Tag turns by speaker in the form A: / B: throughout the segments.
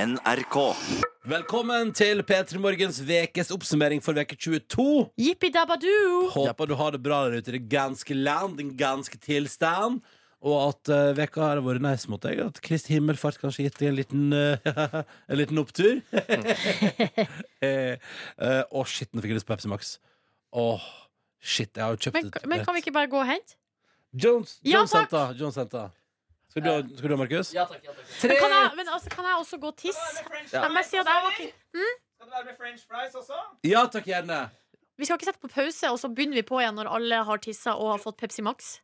A: NRK.
B: Velkommen til P3 Morgens vekes oppsummering for veke 22.
C: Jippi dabadu!
B: Håper du har det bra der ute i det ganske land, den ganske tilstand. Og at eh, veka har vært nice mot deg. At Kristi himmelfart kanskje gitt deg en liten, eh, en liten opptur. Eh, eh, Å, shit, nå fikk jeg lyst på Pepsi Max. Åh, shit, jeg har jo kjøpt
C: Men,
B: et
C: men kan vi ikke bare gå og hente?
B: Jones,
C: Ja,
B: Jones
C: takk.
B: Santa. Jones Santa. Skal du ha, skal du ha Markus?
D: Ja takk. ja takk
C: Men kan jeg, men altså, kan jeg også gå og tisse? Jeg må si at jeg var ikke-
D: Skal det være med french fries også?
B: Ja takk, gjerne.
C: Vi skal ikke sette på pause, og så begynner vi på igjen når alle har tissa og har fått Pepsi Max.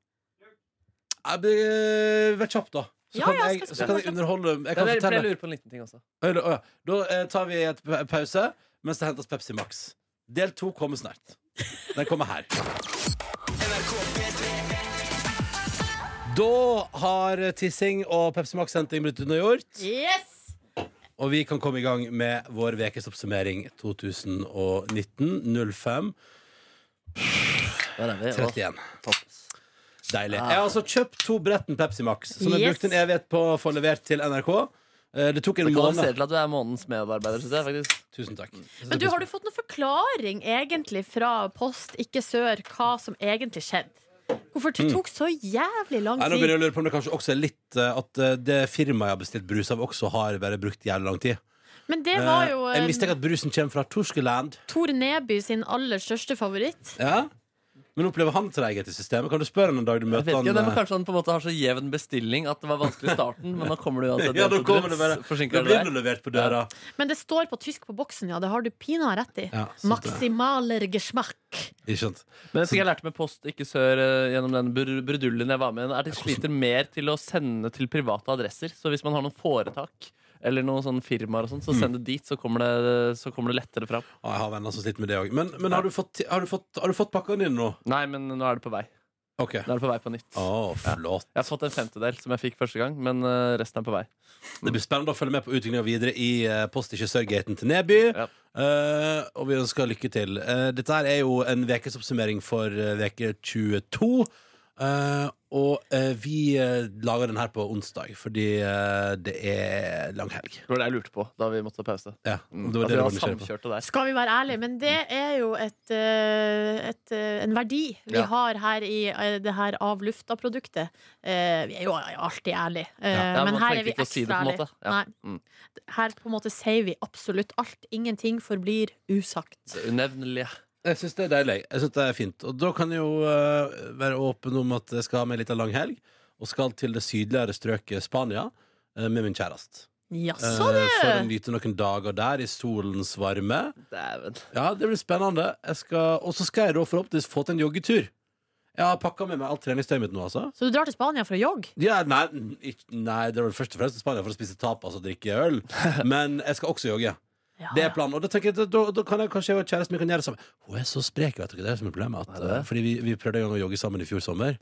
B: Jeg blir- Vær kjapp, da. Så,
C: Ja,
B: kan,
C: ja,
B: jeg,
C: skal-
B: så kan jeg underholde. Jeg
D: Ja,
B: kan
D: det er, for jeg
B: fortelle
D: lurer på en liten ting også.
B: Oi, oi, oi. Da eh, tar vi et pa- pause mens det hentes Pepsi Max. Del to kommer snart. Den kommer her. Da har tissing og Pepsi Max-henting blitt unnagjort,
C: Yes!
B: og vi kan komme i gang med vår ukes oppsummering 2019 05
D: Der er vi.
B: 31. Deilig. Jeg har altså kjøpt to Bretten Pepsi Max, som jeg
C: Yes.
B: brukte en evighet på å få levert til NRK. Eh, Det tok en
D: Det kvalifiserer
B: måned.
D: til at du er månedens medarbeider, syns jeg. faktisk
B: Tusen takk.
C: Men du, har du fått noen forklaring egentlig fra Post ikke sør hva som egentlig skjedde? Hvorfor det tok så jævlig lang
B: Mm. Nei, nå
C: tid?
B: begynner jeg å lure på om det kanskje også er litt eh, at eh, det firmaet jeg har bestilt brus av, også har bare brukt jævlig lang tid.
C: Men det var jo
B: Eh,
C: eh,
B: jeg mistenker at brusen kommer fra Torskeland.
C: Tor Neby sin aller største favoritt.
B: Ja? Men opplever han treghet i systemet? Kan du spørre han en dag du
D: Jeg
B: møter
D: vet
B: han?
D: ikke, det var
B: eh,
D: Kanskje han på en måte har så jevn bestilling at det var vanskelig i starten, men nå kommer du uansett.
B: Ja,
D: hjem
B: da
D: til
B: kommer
D: brus,
B: det bare Da
D: forsinker
B: blir
D: du
B: det
D: deg.
B: levert på døra.
C: Men det står på tysk på boksen, ja. Det har du pinadø rett i.
B: Ja, sant det.
C: Maximaler geschmack.
B: Ikke sant?
D: Men jeg, jeg lærte meg Post ikke sør eh, gjennom den br brudullen jeg var med i, er at de sliter mer til å sende til private adresser. Så hvis man har noen foretak eller noen sånne firmaer og sånn,
B: Mm.
D: så send det dit, så kommer det, så kommer det lettere fram.
B: Ja, jeg har venner som sliter med det òg. Men, men har, du fått, ti- har, du fått, har du fått pakkene dine nå?
D: Nei, men nå er det på vei.
B: OK.
D: Nå er det på vei på nytt.
B: Å, flott.
D: Jeg har fått en femtedel som jeg fikk første gang, men eh, resten er på vei.
B: Det blir spennende å følge med på utviklinga videre i eh, Post ikke sør-gaten til Neby.
D: Ja.
B: Eh, og vi ønsker lykke til. Eh, dette her er jo en ukes oppsummering for eh, veke 22. Eh, og eh, vi eh, lager den her på onsdag, fordi eh, det er langhelg.
D: Det var det jeg lurte på da vi måtte ta pause.
B: Ja,
D: Mm.
B: det var det
D: At vi
B: du var
D: var
B: nysgjerrig på.
D: samkjørte der.
C: Skal vi være ærlige, men det
D: Mm.
C: er jo et, eh, et, eh, en verdi vi
D: Ja.
C: har her i eh, det her av lufta-produktet. Eh, vi er jo alltid ærlige, eh,
D: Ja,
C: men
D: man
C: her
D: trengte
C: er vi
D: ikke å
C: ekstra
D: si det på en
C: ærlige.
D: måte. Ja.
C: Nei,
D: Mm.
C: her på en måte sier vi absolutt alt. Ingenting forblir usagt.
D: Unevnelige.
B: Jeg syns det er deilig. Jeg synes det er fint Og da kan jeg jo eh, være åpen om at jeg skal ha med litt av langhelg, og skal til det sydligere strøket Spania eh, med min kjæreste. Eh,
C: Jaså,
B: for å
C: du!
B: nyte noen dager der i solens varme.
D: Dæven.
B: Ja, det blir spennende. Jeg skal, og så skal jeg da forhåpentligvis få til en joggetur. Jeg har pakka med meg alt treningstøyet mitt nå, altså.
C: Så du drar til Spania for å jogge?
B: Ja, nei, ikk- nei, det er vel først og fremst til Spania for å spise tapas og drikke øl. Men jeg skal også jogge.
C: Ja,
B: Det er
C: ja.
B: planen. Og da tenker jeg, da, da kan jeg kanskje jeg og kjæresten min kan gjøre det sammen. Hun er så sprek, vet dere. Det er det som er problemet. At, eh, fordi vi, vi prøvde en gang å jogge sammen i fjor sommer.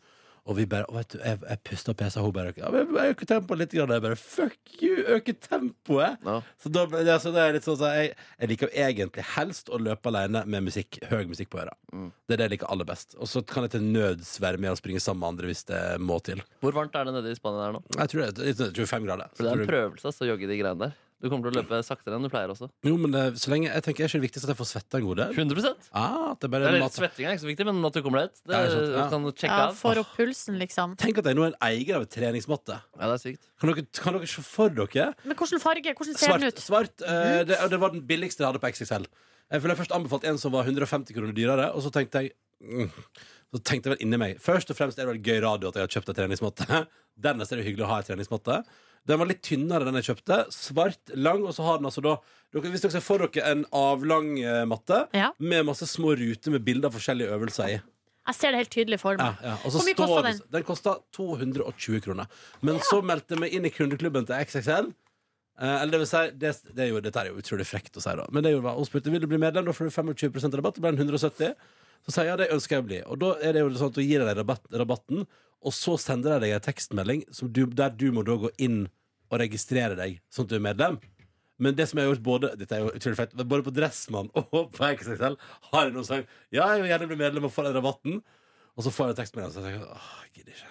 B: Og vi bare, å, vet du, jeg, jeg pusta og pesa, hun bare ja, men Jeg øker tempoet litt. Grann. Jeg bare fuck you, øker tempoet!
D: Ja.
B: Så da, ble- ja, så det er litt sånn så jeg, jeg liker jo egentlig helst å løpe alene med musikk, høy musikk på øra. Det er det jeg liker aller best. Og så kan jeg til nøds være med og springe sammen med andre hvis det må til.
D: Hvor varmt er det nede i Spania der nå?
B: Jeg tror det er litt- 25 grader.
D: For
B: Så
D: det er
B: tror
D: en
B: jeg-
D: prøvelse ass, å jogge de greiene der. Du kommer til å løpe saktere enn du pleier også.
B: jo, men det, så lenge, jeg tenker, er ikke det viktigste at jeg får svette en god del?
D: 100 Det
B: Ah, at det bare
D: er litt
B: mat-
D: Svetting er ikke så viktig, men at du kommer deg ut, det
B: Ja, ikke sant, ja.
D: kan du sjekke
C: Ja,
D: av.
C: får opp pulsen, liksom.
B: Tenk at jeg nå er en eier av et treningsmatte.
D: Ja, det er sykt.
B: Kan dere, kan dere se for dere?
C: Men hvilken farge? Hvordan ser den
B: Svart.
C: ut?
B: svart eh, det, og det var den billigste jeg hadde på XXL. Jeg ville først anbefalt en som var 150 kroner dyrere, og så tenkte jeg mm, Så tenkte jeg vel inni meg Først og fremst er det vel gøy radio at jeg har kjøpt en treningsmatte. Dernest er det hyggelig å ha en treningsmatte. Den var litt tynnere enn jeg kjøpte. Svart, lang, og så har den altså da dere, Hvis dere ser for dere en avlang eh, matte
C: Ja.
B: med masse små ruter med bilder av forskjellige øvelser i.
C: Jeg ser det helt tydelig for
B: Ja,
C: meg.
B: ja. Og så
C: Hvor mye
B: står
C: kostet
B: det- Den kosta 220 kroner. Men så meldte jeg meg inn i kundeklubben til XXL. Eh, eller det vil si, det, det er jo, dette er jo utrolig frekt å si, da. Men det gjorde, hun spurte vil du bli medlem, da får du 25 rabatt. Det ble en 170. Så sier jeg ja, det ønsker jeg å bli. Og da er det jo sånn at du gir deg rabatt, rabatten, og så sender jeg deg en tekstmelding som du, der du må da gå inn og registrere deg, sånn at du er medlem. Men det som jeg har gjort både Dette er jo utrolig fett men Både på Dressmann og på XXL har jeg noen som Ja, jeg vil gjerne bli medlem og få den rabatten. Og så får jeg en tekstmelding, og så tenker jeg åh, jeg gidder ikke.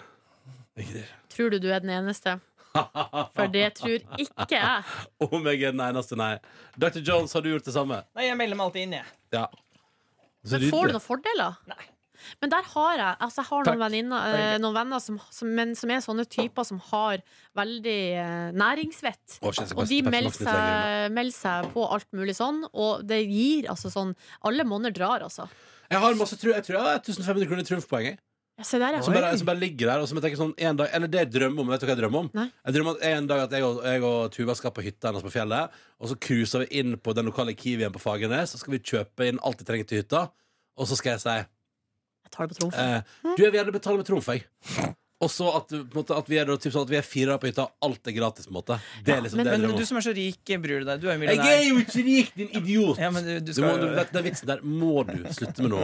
B: Jeg gidder ikke.
C: Tror du du er den eneste? For det tror ikke jeg.
B: Om jeg er den eneste, nei. Dr. Jones, har du gjort det samme?
A: Nei, jeg melder meg alltid inn, jeg.
B: Ja. Så
C: Men får du
B: nydelig.
C: noen fordeler?
A: Nei.
C: Men der har jeg altså jeg har
B: Takk.
C: noen, venninner, eh, noen venner som, som, men, som er sånne typer som har veldig eh, næringsvett.
B: Å, shit, jeg skal
C: Og de
B: bare-
C: melder
B: Pepsi Max litt lenger unna.
C: seg, melder seg på alt mulig sånn, og det gir altså sånn Alle monner drar, altså.
B: Jeg har masse tru, jeg tror jeg har 1500 kroner i trumfpoeng. jeg.
C: Ja, Se der,
B: Som
C: ja.
B: bare, som bare ligger der. Og som jeg tenker sånn en dag, Eller det jeg drømmer om. Vet du hva jeg drømmer om?
C: Nei.
B: Jeg drømmer at en dag at jeg og, jeg og Tuva skal på hytta hennes på fjellet. Og så cruiser vi inn på den lokale Kiwien på Fagernes, og skal vi kjøpe inn alt vi trenger til hytta. Og så skal jeg si
C: Jeg tar det på trumf.
B: Eh, du, jeg vil gjerne betale med trumf, jeg. Og så at, du- på en måte, at vi er da typ sånn at vi er fire på hytta, alt er gratis, på en måte. Det er liksom
C: men-
B: det jeg
A: Men
B: drømmer
A: du
B: om.
A: som er så rik, bryr du deg. Du er jo
B: Jeg er
A: millionær.
B: jo ikke rik, din idiot!
A: Ja, men du,
B: du
A: du
B: må,
A: skal
B: du,
A: jo
B: vet, den vitsen der må du slutte med nå.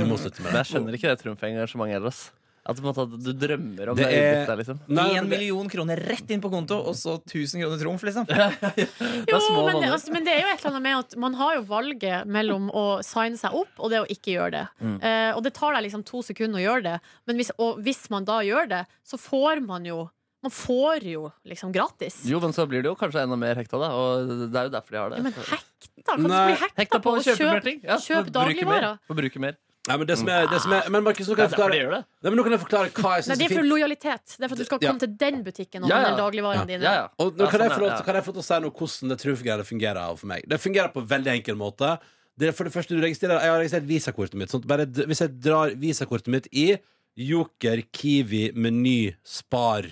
B: Du må slutte med
D: Men
B: det.
D: jeg skjønner ikke det trumfengasjementet ellers. At, på en måte at du drømmer om
B: Det
D: det, øyeblikket
B: er-
D: der, liksom.
B: Nei,
A: en
B: men det-
A: million kroner rett inn på konto, og så 1000 kroner trumf, liksom.
D: Det
C: Jo,
D: er små
C: men det,
D: vanner.
C: altså, men det er jo et eller annet med at man har jo valget mellom å signe seg opp og det å ikke gjøre det.
D: Mm.
C: Eh, og det tar deg liksom to sekunder å gjøre det, men hvis, og hvis man da gjør det, så får man jo Man får jo liksom gratis.
D: Jo, men så blir det jo kanskje enda mer hekta, da. Og det er jo derfor de har det.
C: Ja, men hekta? Kan du
B: Nei,
C: bli hekta,
D: Hekta på
C: å
D: å kjøpe mer ting. Ja,
C: kjøp
D: forbruke mer.
C: dagligvarer.
D: Forbruke mer.
B: Nei, men det som er, det som er Men Markus, nå kan
D: Det
B: jeg
D: er derfor de
B: forklare,
D: gjør det.
B: Nei, men nå kan jeg forklare hva jeg
C: Nei,
B: syns
C: det
B: er
C: er for
B: fint.
C: lojalitet. Det er for at du skal
B: Ja.
C: komme til den butikken og
D: Ja, ja.
C: handle dagligvarene dine.
D: Ja, ja.
B: Og nå kan,
D: Ja,
B: jeg få
D: sånn er
B: lov,
D: det, ja.
B: kan jeg få lov til å si noe hvordan det trumfgreiene fungerer for meg? Det fungerer på en veldig enkel måte. Det er for det første du registrerer Jeg har registrert visakortet mitt. Sånn at bare, d- hvis jeg drar visakortet mitt i Joker, Kiwi, Meny, Spar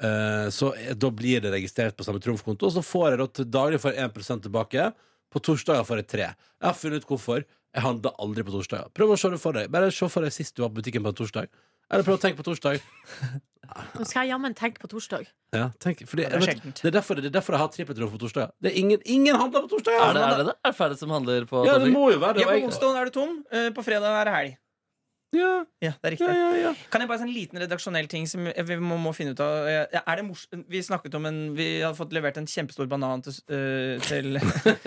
B: eh, Så eh, da blir det registrert på samme trumfkonto. Og så får jeg da til daglig for 1 tilbake. På torsdager får jeg 3. Jeg har funnet ut hvorfor. Jeg handler aldri på torsdager. Prøv å se det for deg. Bare se for deg sist du var på butikken på en torsdag. Eller prøv å tenke på torsdag.
C: Nå skal jeg jammen tenke på torsdag.
B: Ja, tenk, fordi,
A: det er
B: jeg vet-
A: sjeldent.
B: det er derfor, det er derfor jeg har trippeltråd på torsdag. Det er ingen, ingen handler på torsdag!
D: Er det, er det det? Er det færre som handler på
B: Ja, det
D: torsdag?
B: må jo være det.
A: Ja,
B: og
A: på
B: jeg-
A: onsdag er du tom, eh, på fredag er det helg.
B: Ja,
A: Ja, det
B: ja,
A: er riktig.
B: ja, ja.
A: Kan jeg bare si en liten redaksjonell ting som jeg- vi må, må finne ut av? Eh, Er det mors vi snakket om en Vi hadde fått levert en kjempestor banan til, s- eh, til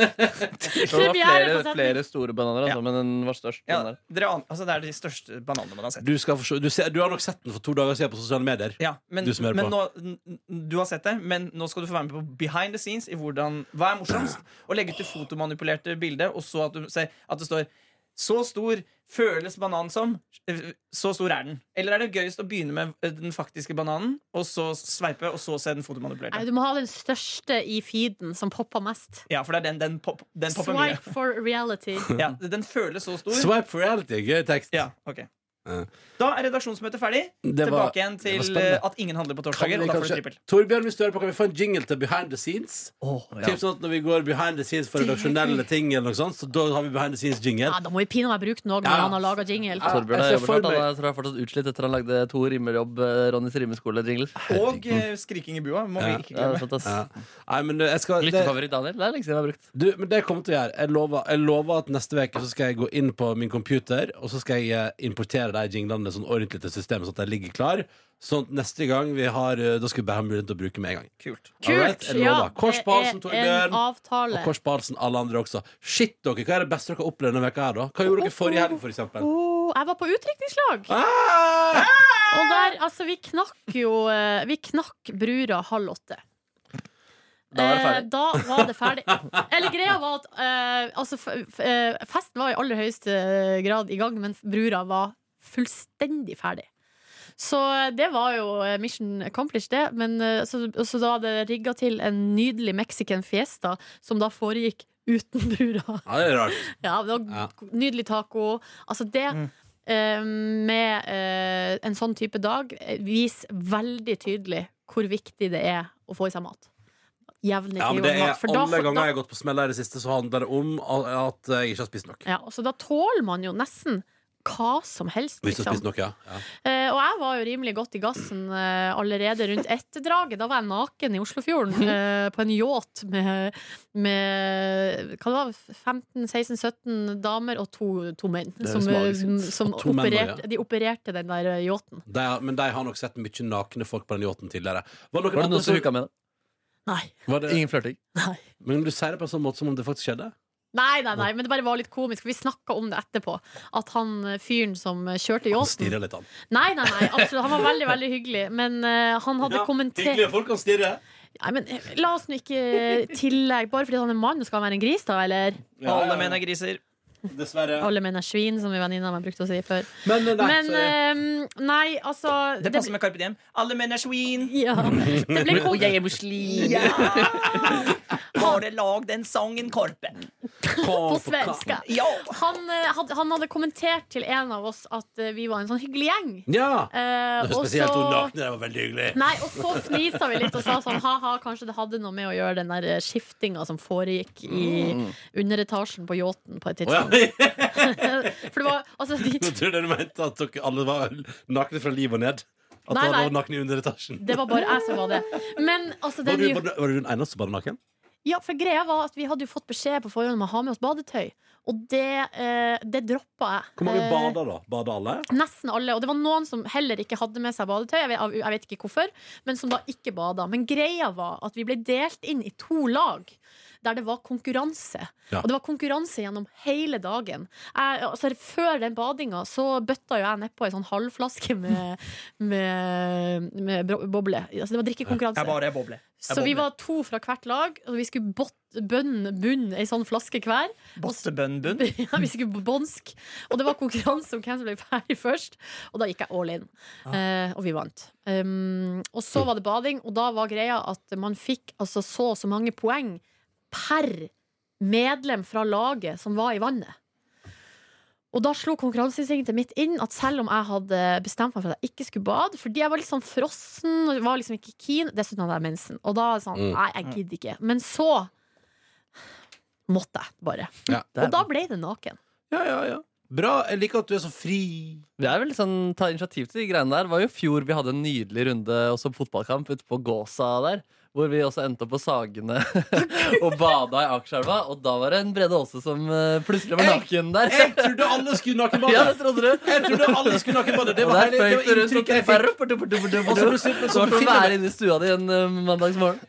D: Det var
C: Premiere på
D: flere,
C: setning.
D: flere store bananer, altså, men den var størst. den
A: ja,
D: der.
A: dere, an- altså, Det er de største bananene man har sett.
B: Du, skal forstå, du, ser, du har nok sett den for to dager siden på sosiale medier.
A: Ja, men,
B: Du som hører
A: men
B: på.
A: nå, n- n- du har sett det, men nå skal du få være med på behind the scenes i hvordan, hva er morsomst. Å legge til fotomanipulerte bilder, og så at, du, ser at det står så stor føles banan som. Så stor er den. Eller er det gøyest å begynne med eh, den faktiske bananen, og så sveipe, og så se den
C: Nei,
A: fotomanipulerte?
C: du må ha den største i feeden som popper mest.
A: Ja, for det er den, den, pop, den popper mye.
C: Swipe for reality.
A: Ja, den føles så stor.
B: Swipe for reality. Gøy tekst.
A: Ja, ok
B: Ja.
A: Da er redaksjonsmøtet ferdig.
B: Det var-
A: Tilbake igjen
B: det var
A: til
B: spennende.
A: eh, at ingen handler på
B: Kan vi
A: torsdager, og da får du
B: kanskje-
A: trippel.
B: Torbjørn, hvis du hører på, kan vi få en jingle til behind the scenes?
D: Åh, ja.
B: Typ sånn at Når vi går behind the scenes for redaksjonelle ting, eller noe sånt, så da har vi behind the scenes-jingle.
C: Ja, da må vi pinadø bruke den òg
B: Ja.
C: når han har laga jingle.
B: Ja.
D: Torbjørn
B: Jeg
D: har
B: ser
D: jobbet
B: for
D: hardt.
B: meg-
D: Han er, tror jeg er fortsatt utslitt etter han lagde to rimmerjobb eh, Ronnys rimeskole-jingler.
A: Og eh, skriking i bua må vi
B: Mm. Ja.
A: ikke
D: Ja, det er
A: glemme.
D: sant, ass.
B: Ja. Nei, men eh, jeg skal det-
D: Lyttefavoritt Daniel. Det er lenge siden jeg har brukt.
B: Du, men det kommer til å gjøre Jeg lover, jeg lover at neste veke så skal jeg gå inn på min computer Og så skal jeg eh, importere de jinglene Sånn ordentlig til systemet Sånn at de ligger klar Sånn at neste gang vi har eh, Da skal vi bare ha mulighet til å bruke med en gang
A: Kult.
B: Alright,
C: Kult!
B: jeg
C: Ja,
B: lover. Kors på halsen,
C: det er en
B: Torbjørn Og
C: avtale.
B: Kors på halsen, alle andre også Shit dere, hva er det beste dere har opplevd denne veka her da? Hva gjorde dere forrige helg for eksempel?
C: Oh, jeg var på utdrikningslag.
B: Ah!
C: Og der, altså, vi knakk jo eh, Vi knakk brura halv åtte.
D: Da var det
C: Eh,
D: ferdig.
C: da var det ferdig. Eller greia var at eh, altså, f- f- eh, festen var i aller høyeste grad i gang, men brura var fullstendig ferdig. Så det var jo eh, mission accomplished, det. Men, eh, så, og så da hadde jeg rigga til en nydelig mexican fiesta, som da foregikk uten brura.
B: Ja, det er rart
C: Ja, det var
B: Ja.
C: Nydelig taco. Altså det eh, med eh, en sånn type dag eh, viser veldig tydelig hvor viktig det er å få i seg mat. Jevnlig
B: Ja, men
C: tilgang
B: det
C: på
B: er
C: mat. For da-
B: alle ganger
C: da,
B: jeg har gått på smell her i det siste Så handler det om at jeg ikke har spist nok
C: ja, så da tåler man jo nesten hva som helst.
B: Hvis jeg
C: Liksom.
B: har spist nok, ja, ja.
C: Eh, og jeg var jo rimelig godt i gassen eh, allerede rundt etterdraget. Da var jeg naken i
B: Mhm.
C: Oslofjorden eh, på en yacht med, med hva det var, 15-16-17 damer og to, to menn.
B: er
C: Som,
B: smale
C: eh,
B: sits.
C: som
B: Og to menn,
C: opererte,
B: ja.
C: De opererte den der eh, yachten.
B: De, har- Men de har nok sett mye nakne folk på den yachten tidligere Var det
D: Var
B: noen
D: det
B: andre
D: noen som
B: som
D: hooka med det?
C: Nei.
B: var det-
D: Ingen flørting.
C: Nei.
B: Men du sier det på en sånn måte som om det faktisk skjedde?
C: Nei, nei, nei, men det bare var litt komisk, for vi snakka om det etterpå. At han eh, fyren som kjørte
B: Han
C: yachten
B: stirrer litt, han.
C: Nei, nei, nei, absolutt. Han var veldig, veldig hyggelig, men eh, han hadde kommentert
B: folk kan stirre.
C: Nei, men eh, La oss nå ikke tillegge Bare fordi han er mann, skal han være en gris, da? Eller
A: Alle menn er griser.
B: Dessverre.
C: alle menn er svin, som en venninne av meg brukte å si før.
B: Men, nei,
C: Men
B: så-
C: eh, nei, altså
A: Det passer med Carpe Diem. Alle menn er svin.
C: ja. Det ble kom...
D: jeg er muslim!
A: Ja! Bare lag den sangen, Karpe.
C: på svenska.
A: Ja!
C: Han, eh, hadde, han hadde kommentert til en av oss at eh, vi var en sånn hyggelig gjeng.
B: Ja.
C: Eh,
B: Det var
C: og
B: spesielt hun
C: så- Mm.
B: nakne. Det var veldig hyggelig.
C: Nei, og så fnisa vi litt og sa sånn ha-ha, kanskje det hadde noe med å gjøre den der eh, skiftinga som foregikk i underetasjen på yachten på et
B: Mm. Å, ja.
C: tidspunkt. For det var altså
B: Nå
C: de,
B: trodde jeg du mente at dere alle var nakne fra liv og ned. At
C: Nei,
B: nei,
C: nei.
B: var nakne i underetasjen.
C: Det var bare jeg som var det. Men altså
B: Var
C: den
B: du, var, du, var du den eneste som var naken?
C: Ja, for greia var at vi hadde jo fått beskjed på forhånd om å ha med oss badetøy, og det, eh, det droppa jeg.
B: Hvor mange
C: Eh,
B: bader da? Bader alle?
C: Nesten alle. Og det var noen som heller ikke hadde med seg badetøy, jeg vet, jeg vet ikke hvorfor, men som da ikke bada. Men greia var at vi ble delt inn i to lag. Der det var konkurranse.
B: Ja.
C: Og det var konkurranse gjennom hele dagen. Jeg, altså, før den badinga så bøtta jo jeg nedpå ei sånn halvflaske med, med, med bro- boble. Altså, det var drikkekonkurranse.
A: Jeg bare er boble. Jeg
C: Så vi
A: bobler.
C: var to fra hvert lag, og vi skulle bot- bønn, bunn ei sånn flaske hver.
A: Bossebønnbunn.
C: Ja, vi skulle på bånsk. Og det var konkurranse om hvem som ble ferdig først. Og da gikk jeg all in. Eh, og vi vant. Um, og så var det bading, og da var greia at man fikk altså så og så mange poeng per medlem fra laget som var i vannet. Og da slo konkurranseinstinktet mitt inn at selv om jeg hadde bestemt meg for at jeg ikke skulle bade, fordi jeg var litt sånn frossen, og var liksom ikke keen, dessuten hadde jeg mensen. Og da sånn,
B: Mm.
C: nei, jeg gidder ikke. Men så måtte jeg bare.
B: Ja.
C: Og da ble det naken.
B: Ja, ja, ja. Bra. Jeg liker at du er så fri.
D: Vi er vel sånn, ta initiativ til de greiene der. Det var jo i fjor vi hadde en nydelig runde også på fotballkamp ute på Gåsa der. Hvor vi også endte opp på Sagene og bada i Akerselva. Og da var det en Brede Aase som eh, plutselig var naken der.
B: Jeg trodde alle skulle nakenbade!
D: Ja, det trodde du.
B: Jeg trodde alle skulle nakenbade! Det
D: Og
B: var,
D: der
B: hele- det
D: føyk du
B: var
D: rundt og
B: inntrykket jeg fikk.
D: bare rup, rup, rup, rup, rup.
B: Og så plutselig- men
D: Det
B: så
D: var som å
B: befinner jeg
D: være inne i stua di en eh, mandagsmorgen.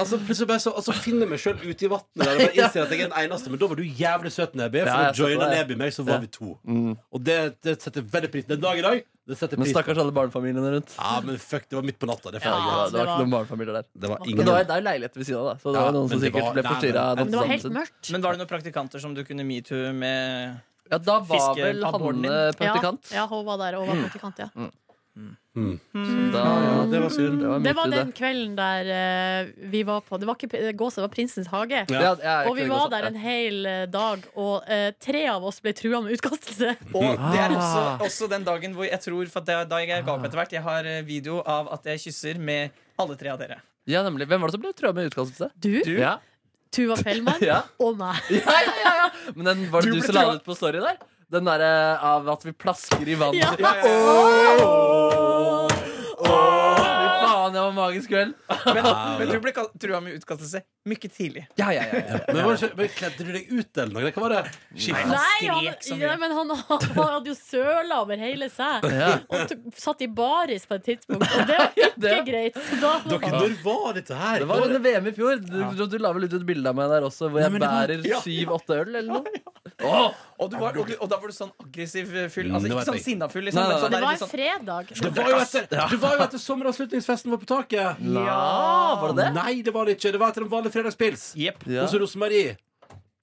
B: Altså, plutselig bare så altså, finner jeg meg sjøl ute i vannet der og bare innser at jeg er den eneste. Men da var du jævlig søt, Neby. For
D: Ja,
B: da
D: jeg
B: joina
D: satte det.
B: Neby meg, så var
D: Ja.
B: vi to. Og det, det setter veldig pris Den dag i dag, det setter
D: Mm. Men
B: pris på.
D: stakkars alle barnefamiliene rundt.
B: Ja, men fuck, det var midt på natta. Det, får jeg
C: Ja,
B: gjøre.
D: Ja, det var
C: det
D: ikke
C: var-
D: noen barnefamilier der.
B: det var
D: Men
B: ingen
D: det var, det er jo leilighet ved siden av, da. Så det
B: Ja,
D: var noen
B: men
D: som
B: det
D: sikkert
B: var-
D: ble
B: nei,
D: forstyrra.
B: men-
D: av
C: Men det var
D: dansedansen
C: helt
D: sin.
C: mørkt.
A: Men var det noen praktikanter som du kunne metoo med?
D: Ja, da var
A: Fiske-
D: vel
A: abboren din.
D: Hanne praktikant.
C: Ja, ja, hun var der og var praktikant, ja.
D: Da,
B: Ja, det var synd.
C: Det var
D: midt i
C: den kvelden der eh, vi var på Det var ikke eh, Gåsa, det var Prinsens hage.
B: Ja.
D: Ja, jeg er
C: Og vi
D: ikke
C: var
D: god
C: der
D: sånn.
C: en hel eh, dag, og eh, tre av oss ble trua med utkastelse.
A: Og det er også,
D: Ah.
A: også den dagen hvor jeg tror for at det er da jeg ga opp etter hvert. Jeg har eh, video av at jeg kysser med alle tre av dere.
D: Ja, nemlig. Hvem var det som ble trua med utkastelse?
C: Du,
D: Ja.
C: Tuva Fellmann,
D: Ja.
C: og meg.
D: Ja, ja, ja, ja. Men den var
A: Du
D: det du,
A: ble
D: som la
A: trua.
D: ut på story der? Den derre av at vi plasker i vann.
C: Ja.
D: Fy faen, det var en magisk kveld.
A: Men, men du ble kalt- trua med utkastelse mye tidlig.
D: Ja, ja, ja, ja.
B: Men, var det ikke, men Kledde du deg ut eller noe? Hva var det? Shit.
A: Han
C: Nei, han,
A: skrek så mye.
C: ja, men han, han hadde jo søla over hele seg.
D: Ja.
C: Og t satt i baris på et tidspunkt, og det var ikke
D: det-
C: greit. Så da
B: Dere, når var dette her?
D: Det var under VM i fjor. Du, du la vel ut et bilde av meg der også, hvor jeg
B: men det var-
D: bærer
A: Ja.
D: syv-åtte øl eller noe. Åh,
A: Og, du var, og, du, og da var du sånn aggressiv eh, fyll.
B: Mm,
A: Altså
B: det
A: ikke
B: vet
A: sånn
B: jeg.
A: sinna fyll,
D: Nei,
A: liksom.
D: nei,
A: Men sånn
C: Det
A: der,
C: var
A: litt
C: en
A: sånn,
C: fredag.
B: Det var jo etter, det var jo etter sommeravslutningsfesten var på taket.
D: Ja, var det det?
B: Nei, det var det ikke. Det var etter en vanlig fredagspils.
A: jepp.
D: Ja.
B: Og så Rosemarie.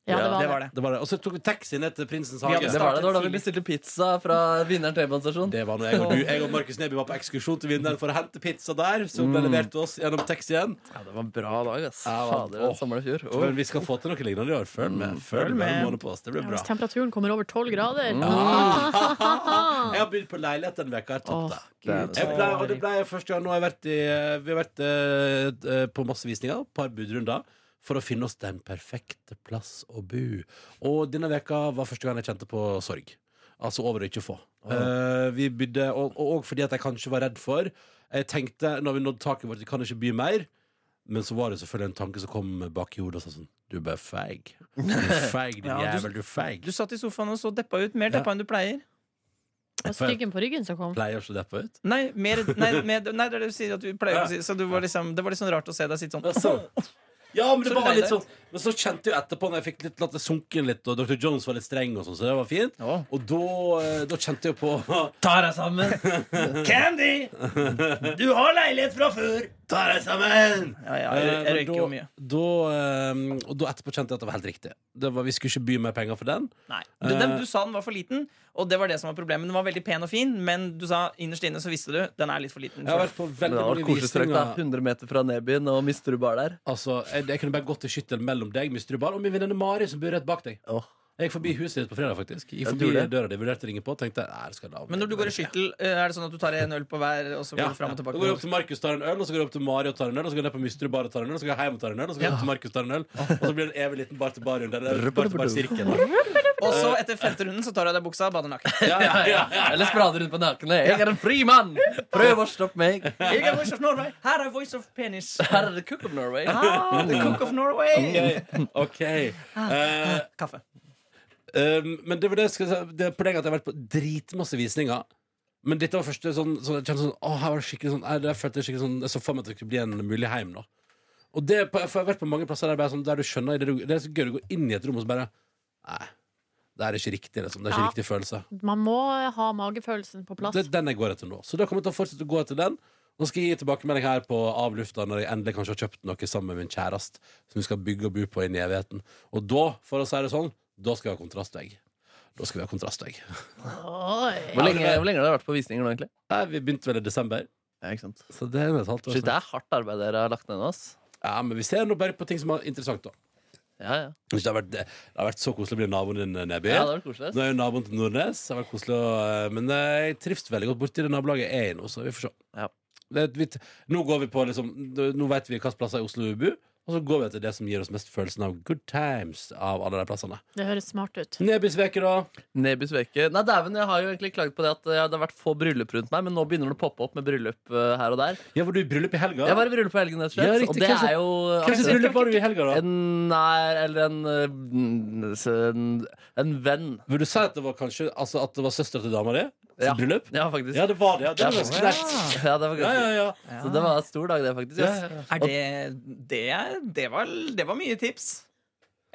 C: Ja, det
A: Det
D: Ja,
C: var det.
A: var det.
B: Det var det. Og så tok vi taxi ned til Prinsens
A: Vi
B: hage.
A: hadde
D: Det var det, det var da vi bestilte pizza fra Vinneren T-banestasjon.
B: Det var når jeg og, du, jeg og Markus Neby var på ekskursjon til vinneren for å hente pizza der. Som ble levert til oss gjennom taxien.
D: Ja, det var en bra dag, ass.
B: Ja, det var-
D: Fader, den sommeren i fjor. Åh.
B: Men vi skal få til noe lignende i år. Følg med. Mm. Følg med. en måned på oss. Det blir
C: Ja,
B: bra.
C: Hvis temperaturen kommer over tolv grader
B: Jeg har begynt på leilighet denne veka. Jeg har tatt
C: Åh,
B: det.
C: Gud.
B: Jeg ble, og det ble jeg første gang. Nå har jeg vært i, vi har vært eh, eh, på masse visninger, et par budrunder, for å finne oss den perfekte plass å bo. Og denne veka var første gang jeg kjente på sorg. Altså over å ikke få. Eh, vi bydde, og, og, og fordi at jeg kanskje var redd for Jeg tenkte når vi nådde taket vårt, vi kan ikke by mer. Men så var det selvfølgelig en tanke som kom bak i hodet og sa sånn Du er bare feig. Du er feig, din
A: Ja, du-
B: jævel. Du er feig.
A: Du satt i sofaen og så deppa ut. Mer deppa enn du pleier.
C: Og styggen på ryggen som kom.
B: Pleier så deppa ut.
A: Nei, mer, nei, mer, nei det er det du sier at du pleier å si. Så du var liksom, det var litt sånn rart å se deg sitte sånn.
B: Ja, men det
A: Så
B: var
A: deilig.
B: litt sånn Men så kjente jeg jo etterpå når jeg fikk litt latt det sunke litt, og Dr. Jones var litt streng, og sånn, så det var fint.
A: Ja.
B: Og da, eh, da kjente jeg jo på
A: Ta deg sammen! Candy! Du har leilighet fra før!
B: Ta deg sammen!
A: Ja, ja, jeg, jeg røyker jo mye.
B: Eh, Da, eh, og da etterpå kjente jeg at det var helt riktig. Det var, vi skulle ikke by mer penger for den.
A: Nei. Du, den, du sa den var for liten, og det var det som var problemet. Den var veldig pen og fin, men du sa innerst inne så visste du den er litt for liten.
B: Jeg har vært på
D: Men det
B: veldig
D: hadde vært
B: mange
D: koselig strøk, da.
B: visninger.
D: 100 meter fra Nebyen og Misterudbar der.
B: Altså, jeg, jeg kunne bare gått i skyttel mellom deg, Mr. Bar, og min venninne Mari, som bor rett bak deg.
D: Åh.
B: Jeg gikk forbi huset ditt på fredag, faktisk. Jeg gikk
D: Ja,
B: forbi
D: du det?
B: døra di, vurderte å ringe på, tenkte nei, det skal jeg la
A: Men når du går i skyttel, eh, er det sånn at du tar en øl på hver, og så går
B: ja,
A: du fram og
B: Da går jeg opp
A: tilbake?
B: til Markus tar en øl, og så går jeg opp til Mari og tar en øl, og så går jeg ned på Mr. Bar og tar en øl, og så går jeg hjem og tar en øl, og så går jeg opp til Markus og tar en øl, og så blir det en evig liten bar til bar-runde. eller Bar til bar-sirkel.
A: Og så, etter femte runden, så tar du av deg buksa og bader naken.
B: Ja, ja, ja, ja.
D: Eller sprader rundt på nakne. Jeg er en fri mann! Prøv å stoppe meg.
A: Jeg er Voice of Norway. Her er Voice of Penis.
D: Her er det Cook of Norway.
A: Ah, the cook of
C: Mm.
A: Norway. Mm.
B: OK.
D: Ah.
B: Eh,
A: Kaffe.
B: Um, men det var det jeg skulle si. Det er poenget at jeg har vært på dritmasse visninger. Men dette var første sånn, sånn, jeg kjente sånn, å, her var det skikkelig sånn, jeg, jeg følte skikkelig sånn Jeg så for meg at det skulle bli en mulig heim. da Og det, for Jeg har vært på mange plasser der, bare sånn, der du skjønner i det, du- det er så gøy å gå inn i et rom og så bare Nei, det er ikke riktig. Liksom. Det er ikke
C: Ja.
B: riktig følelse.
C: Man må ha magefølelsen på plass.
B: Det er den jeg går etter nå. Så da kommer jeg til å fortsette å gå etter den. Nå skal jeg gi tilbakemelding her på avlufta når jeg endelig kanskje har kjøpt noe sammen med min kjæreste som vi skal bygge og bo på inn i evigheten. Og da, for å si det sånn, da skal vi ha kontrastvegg. Da skal vi ha kontrastvegg.
C: Oi.
D: Hvor lenge, hvor lenge har dere vært på visninger nå, egentlig?
B: Nei, vi begynte vel i desember.
D: Ja, ikke sant?
B: Så det er et halvt år
D: Shit, det
B: siden.
D: er hardt arbeid dere har lagt ned nå. ass.
B: Ja, men vi ser nå bare på ting som er interessant, da.
D: Ja, ja.
B: Det har vært, det har vært så koselig å bli naboen din, eh, Neby.
D: ja det var
B: Nå
D: koselig. ass.
B: er jeg jo naboen til Nordnes. Det har vært koselig å, Men eh, jeg trives veldig godt borti det nabolaget jeg er i nå, så vi får se.
D: Ja.
B: Det, er et vidt- nå går vi på liksom Nå vet vi hvilke plasser i Oslo vi bor, og så går vi etter det som gir oss mest følelsen av good times av alle de plassene.
C: Det høres smart ut.
B: Nebys veke, da.
D: Nebys veke. Nei, dæven, jeg har jo egentlig klaget på det at eh, det har vært få bryllup rundt meg, men nå begynner det å poppe opp med bryllup eh, her og der.
B: Ja, var du i bryllup i helga?
D: Jeg var i bryllup på helgen, rett og slett.
B: Ja, riktig.
D: og det
B: Hvem som-
D: er jo
B: Hvem sitt
D: altså,
B: bryllup var du i helga, da?
D: en nær eller en, eh, en, en venn.
B: Vil du si at det var kanskje Altså at det var søstera til dama di? Sitt
D: Ja.
B: bryllup?
D: Ja, faktisk.
B: Ja, det var det. Ja, det
D: Ja,
B: var ganske sterkt.
D: ja, det var ganske
B: Ja, ja, ja.
D: Så det var en stor dag, det, faktisk. ass.
A: Er det det, er- det, var, det var mye tips.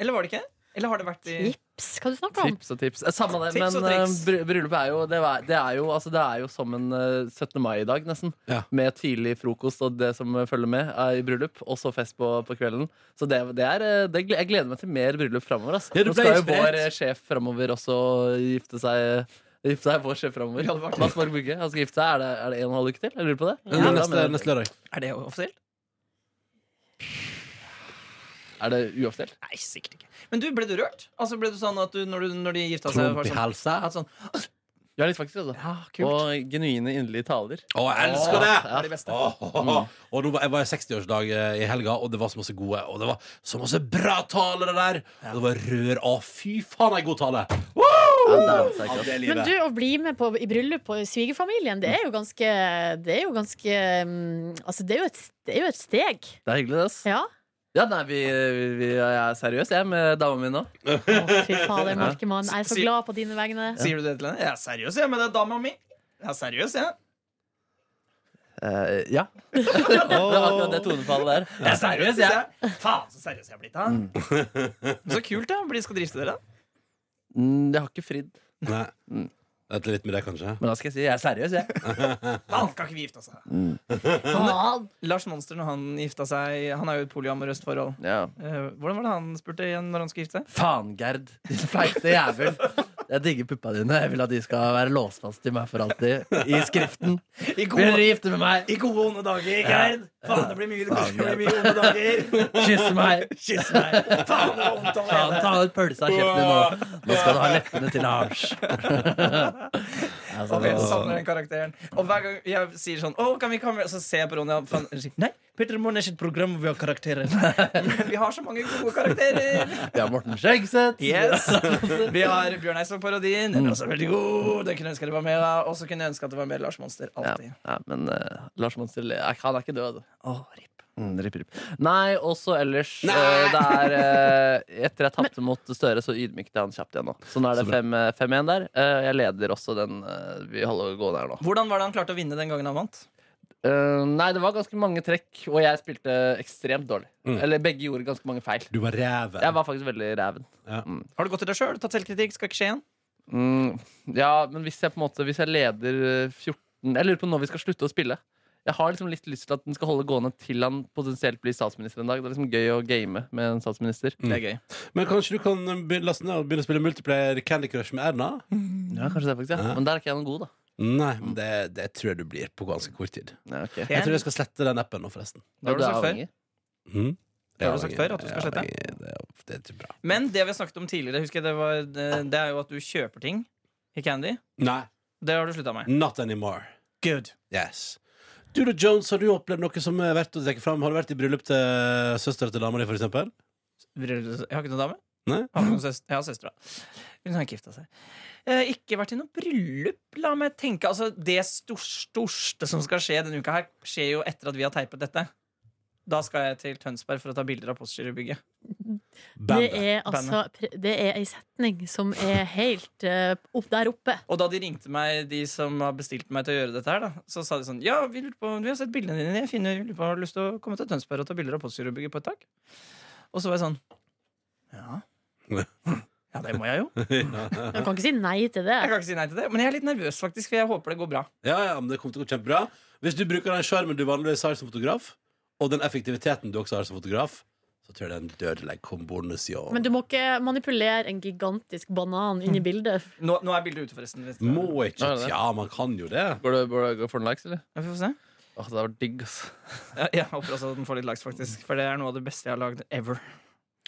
A: Eller var det ikke? Eller har det vært i
C: Tips? Hva du snakker om?
D: Tips og tips. Eh, Samme det,
A: Tips og
D: men eh,
A: triks.
D: bry- bryllupet er jo det er, det er jo, altså, det er jo som en eh, 17. mai-dag, nesten.
B: Ja.
D: Med tidlig frokost og det som eh, følger med eh, i bryllup, og så fest på, på kvelden. Så det, det er, eh, det, gle- jeg gleder meg til mer bryllup framover. altså.
B: Ja, du
D: Nå
B: ble
D: skal jo
B: inspirert.
D: vår eh, sjef framover også gifte seg. eh, Gifte seg vår sjef framover.
A: Ja, det var det.
D: Mads Borg Bugge. Han skal gifte seg. Er det, er det en og en halv uke til? Jeg lurer på det.
B: Ja,
D: Ja,
B: neste,
D: men-
B: neste lørdag.
A: Er det offisielt?
D: er det uoffisielt?
A: Nei, sikkert ikke. Men du, ble du rørt? Altså, ble du sånn at du, når, du, når de gifta seg,
B: Trump
A: var
B: i
A: sånn,
B: helsa.
A: at sånn
D: Ja, litt faktisk. Altså.
A: Ja, kult.
D: Og genuine inderlige taler.
B: Å, jeg elsker
A: Åh,
B: det!
A: det er de beste.
B: Åh, åh, åh.
A: Mm.
B: Og nå var, jeg var i 60-årsdag eh, i helga, og det var så masse gode Og det var så masse bra talere der! Og det var rør. Å, fy faen, ei god tale! Woo!
D: Ja, det er altså. sikkert.
B: Ja, det er
C: Men
B: livet.
C: du, å bli med på, i bryllup på svigerfamilien, det er jo ganske Det er jo ganske mm, Altså, det er jo et, det er jo et steg.
D: Det er hyggelig, det. ass.
C: Ja.
D: Ja, nei, vi, vi, vi jeg er seriøs, jeg, med dama mi nå.
C: Å, fy fader, Markemann. Jeg er så
A: Si-
C: glad på dine vegne.
A: Sier du det til henne? Jeg er seriøs, jeg, men det er dama mi. Jeg er seriøs, jeg.
D: Eh, ja. det var akkurat det tonefallet der.
A: Jeg er seriøs, jeg. Faen, så seriøs jeg er blitt,
C: Mm.
A: da. Så kult, da. Blir- Skal drifte dere?
D: Mm, jeg har ikke fridd.
B: Nei. Vent litt med det, kanskje.
D: Men da skal jeg si jeg er seriøs, jeg.
A: Faen, kan ikke vi gifte oss? da?
C: Mm. Faen.
A: Lars Monster, når han gifta seg Han er jo i et polyamorøst forhold.
D: Ja.
A: Eh, hvordan var det han spurte igjen når han skulle gifte seg?
D: Faen, Gerd. Din feite jævel. Jeg digger puppa dine. Jeg vil at de skal være låst fast i meg for alltid. I skriften.
A: I
D: Vil
A: gode,
D: dere gifte med meg?
A: i gode onde dager, Gerd. Faen, det blir mye, det blir mye onde dager.
D: Kysse meg?
A: Kyss meg. Faen, det var vondt
D: Faen,
A: allerede.
D: ta ut pølsa av kjeften din nå. Nå skal du ha leppene til Lars. altså,
A: Og jeg savner den karakteren. Og hver gang jeg sier sånn Å, kan vi komme? Så ser jeg på Ronja. faen, jeg sier, Nei, Petter Moen er ikke et program hvor vi har karakterer. Men vi har så mange gode karakterer.
D: vi har Morten Skjeggseth.
A: Yes. Vi har Bjørn Eidsvåg-parodien. Den er også veldig god. Den kunne jeg ønske det var mer av. Og så kunne jeg ønske at det var mer Lars Monster.
D: Ja,
A: Alltid.
D: ja, men eh, Lars Monster er- Han er ikke død. Mm, rip, rip. Nei, også ellers eh, Det er eh, Etter jeg tapte mot Støre, så ydmyket jeg han kjapt igjen nå. Så nå er det
B: Så bra.
D: fem, eh, 5-1 der. Eh, jeg leder også den eh, vi holder å gå der nå.
A: Hvordan var det han klarte å vinne den gangen han vant?
D: Eh, nei, det var ganske mange trekk, og jeg spilte ekstremt dårlig.
B: Mm.
D: Eller begge gjorde ganske mange feil.
B: Du var ræven.
D: Jeg var faktisk veldig ræven.
A: Har du gått til deg sjøl? Tatt selvkritikk? Skal ikke skje igjen?
D: Mm, ja, men hvis jeg på en måte Hvis jeg leder eh, 14 Jeg lurer på når vi skal slutte å spille. Jeg har liksom litt lyst til at den skal holde gående til han potensielt blir statsminister en dag. Det er liksom gøy å game med en statsminister.
A: Det er gøy.
B: Men kanskje du kan eh, be- laste ned og begynne å spille multiplayer Candy Crush med Erna?
A: Mm.
D: Ja, kanskje det faktisk, ja. Men der er ikke jeg noen god, da.
B: Nei, men det, det tror jeg du blir på ganske kort tid.
D: Ja, ok.
A: Det
B: Jeg tror jeg skal slette den appen nå, forresten.
A: Det har du
D: Og
A: sagt før.
D: avhengig.
B: Mm.
A: Det har du sagt før, at du skal slette.
B: Det, er- det er ikke bra.
A: Men det vi har snakket om tidligere, husker jeg det, var, eh, det- det er jo at du kjøper ting i Candy.
B: Nei,
A: Det har du slutta med.
B: not anymore.
A: Good.
B: Yes. Du da, Jones, har du opplevd noe som er verdt å trekke fram? Har du vært i bryllup til søstera til dama di, for eksempel?
A: Jeg har ikke noen dame.
B: Nei?
A: Har ikke noen søs- Jeg har søstera. Hun har ikke gifta seg. Eh, ikke vært i noe bryllup, la meg tenke. Altså, det stor- storste som skal skje denne uka her, skjer jo etter at vi har teipet dette. Da skal jeg til Tønsberg for å ta bilder av postgirobygget.
C: Det
B: Bandet.
C: er altså pre- Det er ei setning som er helt eh, opp der oppe.
A: Og da de ringte meg, de som har bestilt meg til å gjøre dette her, da, så sa de sånn Ja, vi lurer på, vi har sett bildene dine. Jeg finner, lurer på, har du lyst til å komme til Tønsberg og ta bilder av Postgirobygget på et tak? Og så var jeg sånn Ja. Ja, det må jeg jo. Jeg
C: Du kan ikke si nei til det.
A: kan ikke si nei til det. Men jeg er litt nervøs, faktisk, for jeg håper det går bra.
B: Ja, ja, men det kommer til å gå kjempebra. Hvis du bruker den sjarmen du vanligvis har som fotograf, og den effektiviteten du også har som fotograf, så tror jeg det er en dødelig kombinasjon.
C: Men du må ikke manipulere en gigantisk banan inn i
B: Mm.
C: bildet.
A: Nå, nå er bildet ute, forresten. Hvis
B: Må
A: dere-
B: ikke
D: Nå er det det.
B: Tja, man kan jo det.
D: Går det- går det- går det for den likes, eller?
A: Ja, Vi får se.
D: Åh, det hadde vært digg, ass.
A: Ja, jeg håper også at den får litt likes, faktisk. For det er noe av det beste jeg har lagd ever.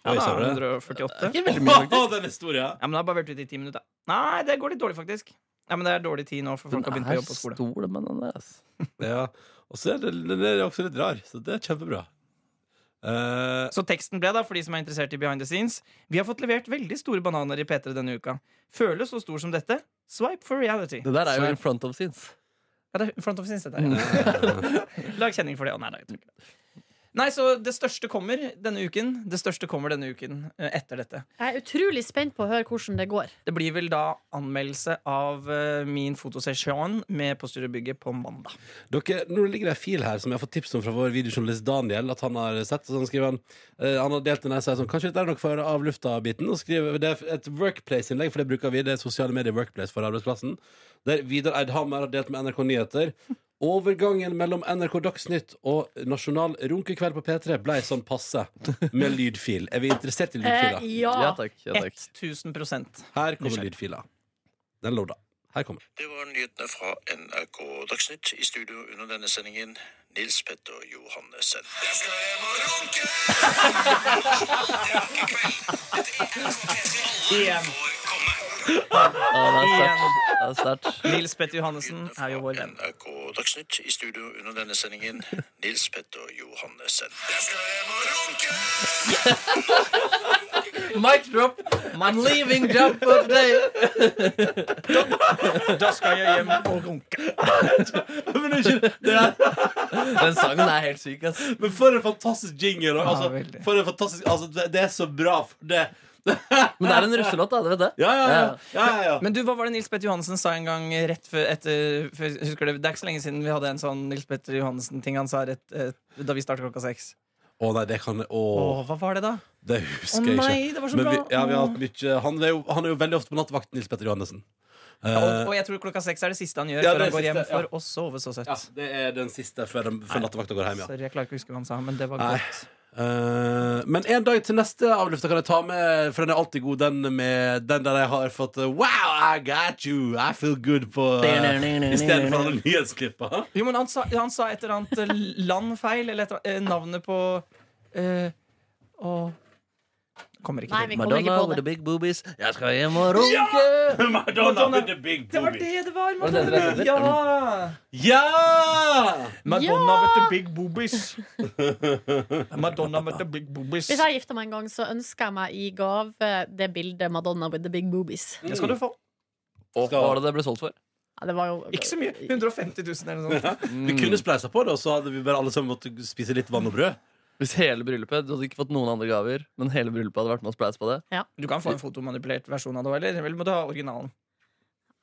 A: Ja,
B: Oi,
A: da,
B: sa du det?
A: 148. Ja,
B: Åh, den er stor, ja.
A: men det har bare vært ute i ti minutter. Nei, det går litt dårlig, faktisk. Ja, men det er dårlig tid nå, for folk har begynt på jobb og skole.
D: stor, den bananen der, ass.
B: ja. Og så er det, den er også litt rar, så det er kjempebra. Eh,
A: Så teksten ble da, for de som er interessert i behind the scenes Vi har fått levert veldig store bananer i P3 denne uka Føles så stor som dette Swipe for reality
D: Det der er jo
B: Så-
D: in front of scenes.
A: Ja, det er front of scenes dette her
D: Mm.
A: Lag kjenning for det Å, nei, nei, jeg tror ikke det Nei, så det største kommer denne uken Det største kommer denne uken eh, etter dette
C: Jeg er utrolig spent på å høre hvordan det går.
A: Det blir vel da anmeldelse av eh, min fotosesjon Med postyrebygget på mandag
B: dere, nå ligger det en fil her som jeg har fått tips om fra vår videojournalist Daniel. At han har sett, og så han skriver han eh, Han har delt den her så er det sånn Kanskje dette er noe for avlufta-biten? Og skriver Det er et workplace-innlegg, for det bruker vi. Det er sosiale medier workplace for arbeidsplassen. Der Vidar Eidhammer har delt med NRK Nyheter. Overgangen mellom NRK Dagsnytt og Nasjonal runkekveld på P3 blei sånn passe, med lydfil. Er vi interessert i
C: Eh,
B: lydfila?
D: Ja
C: ja.
D: takk. Ja, takk.
A: 1000%
B: Her kommer
A: Nysgjerrig.
B: lydfila. Den lå da. Her kommer den.
E: Det var nyhetene fra NRK Dagsnytt. I studio under denne sendingen, Nils Petter Johannessen. Jeg skal hjem og runke!
A: Igjen,
D: Å, det er
A: igjen
D: sterkt. Det er sterkt.
A: Nils Petter Johannessen er jo vår venn
E: NRK Dagsnytt i studio under denne sendingen, Nils Petter Johannessen. Jeg skal hjem og runke!
D: Mic drop. I'm leaving job for today.
A: Da skal jeg hjem og runke
D: Den sangen er helt syk, ass.
B: Men for en fantastisk jingle! og
A: Ja, veldig.
B: Altså, for en fantastisk, altså, det, det er så bra. for Det.
D: Men det er en russelåt, da. Dere vet det?
B: Ja, ja, ja. ja, ja, ja.
A: Men du, hva var det Nils Petter Johansen sa en gang rett før etter før- Husker du, Det er ikke så lenge siden vi hadde en sånn Nils Petter Johansen-ting han sa rett eh, da vi startet klokka seks.
B: Å nei, det kan jeg Å,
A: Å, hva var det da?
B: det
A: Å
B: husker jeg
A: nei,
B: ikke.
A: det var så
B: Men
A: bra!
B: vi, ja, vi har hatt mye han er, jo, han er jo veldig ofte på nattevakt, Nils Petter Johannessen. Eh,
A: og, og jeg tror klokka seks er det siste han gjør
B: Ja,
A: før
B: det
A: han går
B: er
A: hjem
B: siste, ja.
A: for å sove så søtt.
B: ja, det er den siste før, den- før nattevakta går hjem, ja.
A: Sorry, jeg klarer ikke å huske hva han sa, men det var
B: Nei.
A: godt.
B: Eh, men en dag til neste avlufta kan jeg ta med, for den er alltid god, den med den der jeg har fått eh, Wow, I got you! I feel good på uh, Istedenfor alle nyhetsklippa.
A: Jo, men han sa, han sa et eller annet eh, land feil, eller et, eller annet- eh, navnet på eh, Å Kommer ikke
C: Nei,
A: til.
C: vi kommer ikke
D: Madonna
C: på
D: with the
C: det.
D: big boobies. Jeg skal hjem og runke.
B: Madonna with the big
A: Det var
B: boobies.
A: det det var!
D: Var det det
A: Madonna.
D: dere
B: Mm.
A: Ja!
B: Ja!
A: Madonna with the big boobies. Madonna with the big boobies.
C: Hvis jeg gifter meg en gang, så ønsker jeg meg i gave det bildet Madonna with the big boobies.
A: Det skal du få.
D: Og hva var det det ble solgt for?
C: Ja, det var jo
A: Ikke så mye.
C: Mm.
A: 150 000 eller noe sånt.
B: Vi kunne spleisa på det, og så hadde vi bare alle sammen måttet spise litt vann og brød.
D: Hvis hele bryllupet Du hadde ikke fått noen andre gaver, men hele bryllupet hadde vært med og spleis på det.
A: Du kan få en fotomanipulert versjon av det òg, eller? Vel, må du ha originalen.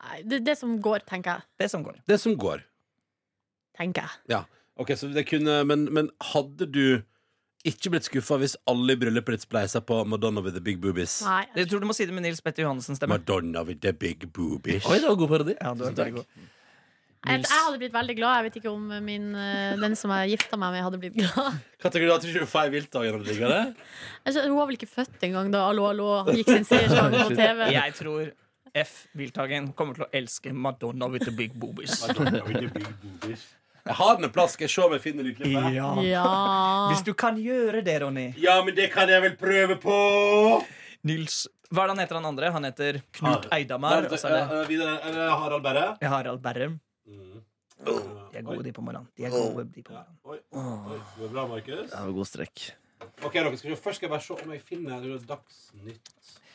C: Nei, det, det som går, tenker jeg.
A: Det som går.
B: Det som går.
C: Tenker jeg.
B: Ja. Ok, så det kunne, men, men hadde du ikke blitt skuffa hvis alle i bryllupet ditt spleisa på Madonna with the big boobies?
C: Nei,
A: Jeg tror du må si det med Nils Petter Johannessen stemme.
B: Madonna with the big boobies.
D: Oi, det var god parodi.
A: Ja, du er veldig god.
C: jeg, jeg hadde blitt veldig glad. Jeg vet ikke om min, eh, den som jeg gifta meg med, hadde blitt glad.
B: Hva tenker du at du ikke får ei viltdag gjennom det? Liggende?
C: Jeg skjønner, hun var vel ikke født engang da Allo, allo gikk sin seiersgang på TV.
A: Jeg tror F. Wiltagen kommer til å elske Madonna with the big boobies.
B: Jeg har den en plass. Skal jeg se om jeg finner lydklippet?
A: Ja.
C: Ja.
A: Hvis du kan gjøre det, Ronny.
B: Ja, men det kan jeg vel prøve på!
A: Nils Hva er det han heter, han andre? Han heter Knut
D: Ah.
B: Harald.
A: Eidamar. Og så er det
B: Eh, eh, videre, eh, Harald Berre.
A: Harald Berrum. De er
B: Mm. Oi.
A: gode, de på morgenen. De er gode, de på morgenen.
B: Oi, oi, oi, det var bra, Markus.
D: Det var god strekk.
B: Ok, dere skal se. Først skal jeg bare se om jeg finner Dagsnytt.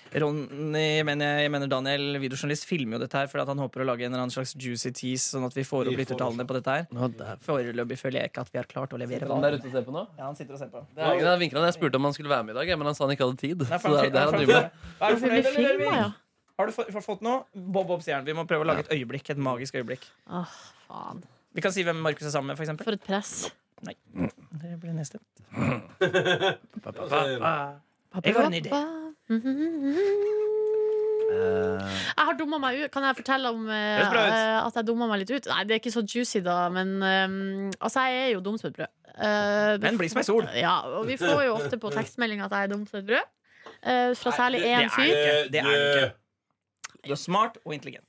A: Ronny, jeg mener, jeg mener Daniel, videojournalist, filmer jo dette her fordi at han håper å lage en eller annen slags juicy tease, sånn at vi får opp
B: Vi får-
A: lyttertallene på dette her.
D: Nå, der.
A: Foreløpig føler jeg ikke at vi har klart å levere.
D: Han der ute og ser på nå?
A: Ja, han sitter og ser på.
D: Det er ikke det, jeg vinket han. Jeg spurte om han skulle være med i dag, jeg, men han sa han ikke hadde tid.
A: Nei,
D: Så det er det er han driver med.
A: Er du
C: Det
A: fornøyd,
C: blir
A: eller?
C: filma,
A: Elvin?
C: ja.
A: Har du fått, fått noe? Bob Bob Stjern. Vi må prøve å lage et øyeblikk. Et magisk øyeblikk.
C: Åh, faen.
A: Vi kan si hvem Markus er sammen med, for eksempel.
C: For et press.
A: Det blir neste.
C: Jeg
A: Jeg har en idé.
C: Jeg har dumma meg ut. Kan jeg fortelle om eh,
A: Eh. Høres bra ut.
C: eh, at jeg dumma meg litt ut? Nei, det er ikke så juicy, da, men eh, altså, jeg er jo dum som et brød. Eh, det-
A: Men bli som ei sol.
C: Ja, og vi får jo ofte på tekstmelding at jeg er dum som et brød. eh, fra særlig
B: det-
C: én
A: det er-
C: fyr.
A: ikke- det er det Du er smart og intelligent.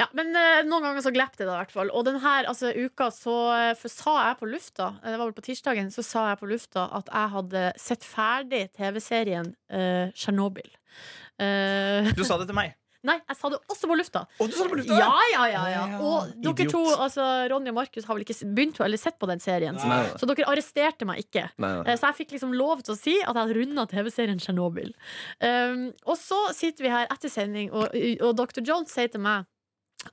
C: Ja, men eh, noen ganger så glepp det da i hvert fall. Og denne altså, uka så eh, for, sa jeg på lufta, eh, det var vel på tirsdagen, så sa jeg på lufta at jeg hadde sett ferdig TV-serien eh, Tsjernobyl. Eh,
A: Du sa det til meg.
C: nei, jeg sa det også på lufta!
A: Å, du sa det på lufta?
C: Ja, ja, ja, ja.
A: Ja,
C: Og dere
A: idiot.
C: to, altså Ronny og Markus, har vel ikke s- begynt å- eller sett på den serien?
B: Nei.
C: Så dere arresterte meg ikke.
D: Nei, nei.
C: Eh, Så jeg fikk liksom lov til å si at jeg hadde runda TV-serien Tsjernobyl. Um, og så sitter vi her etter sending, og, og Dr. Jones sier til meg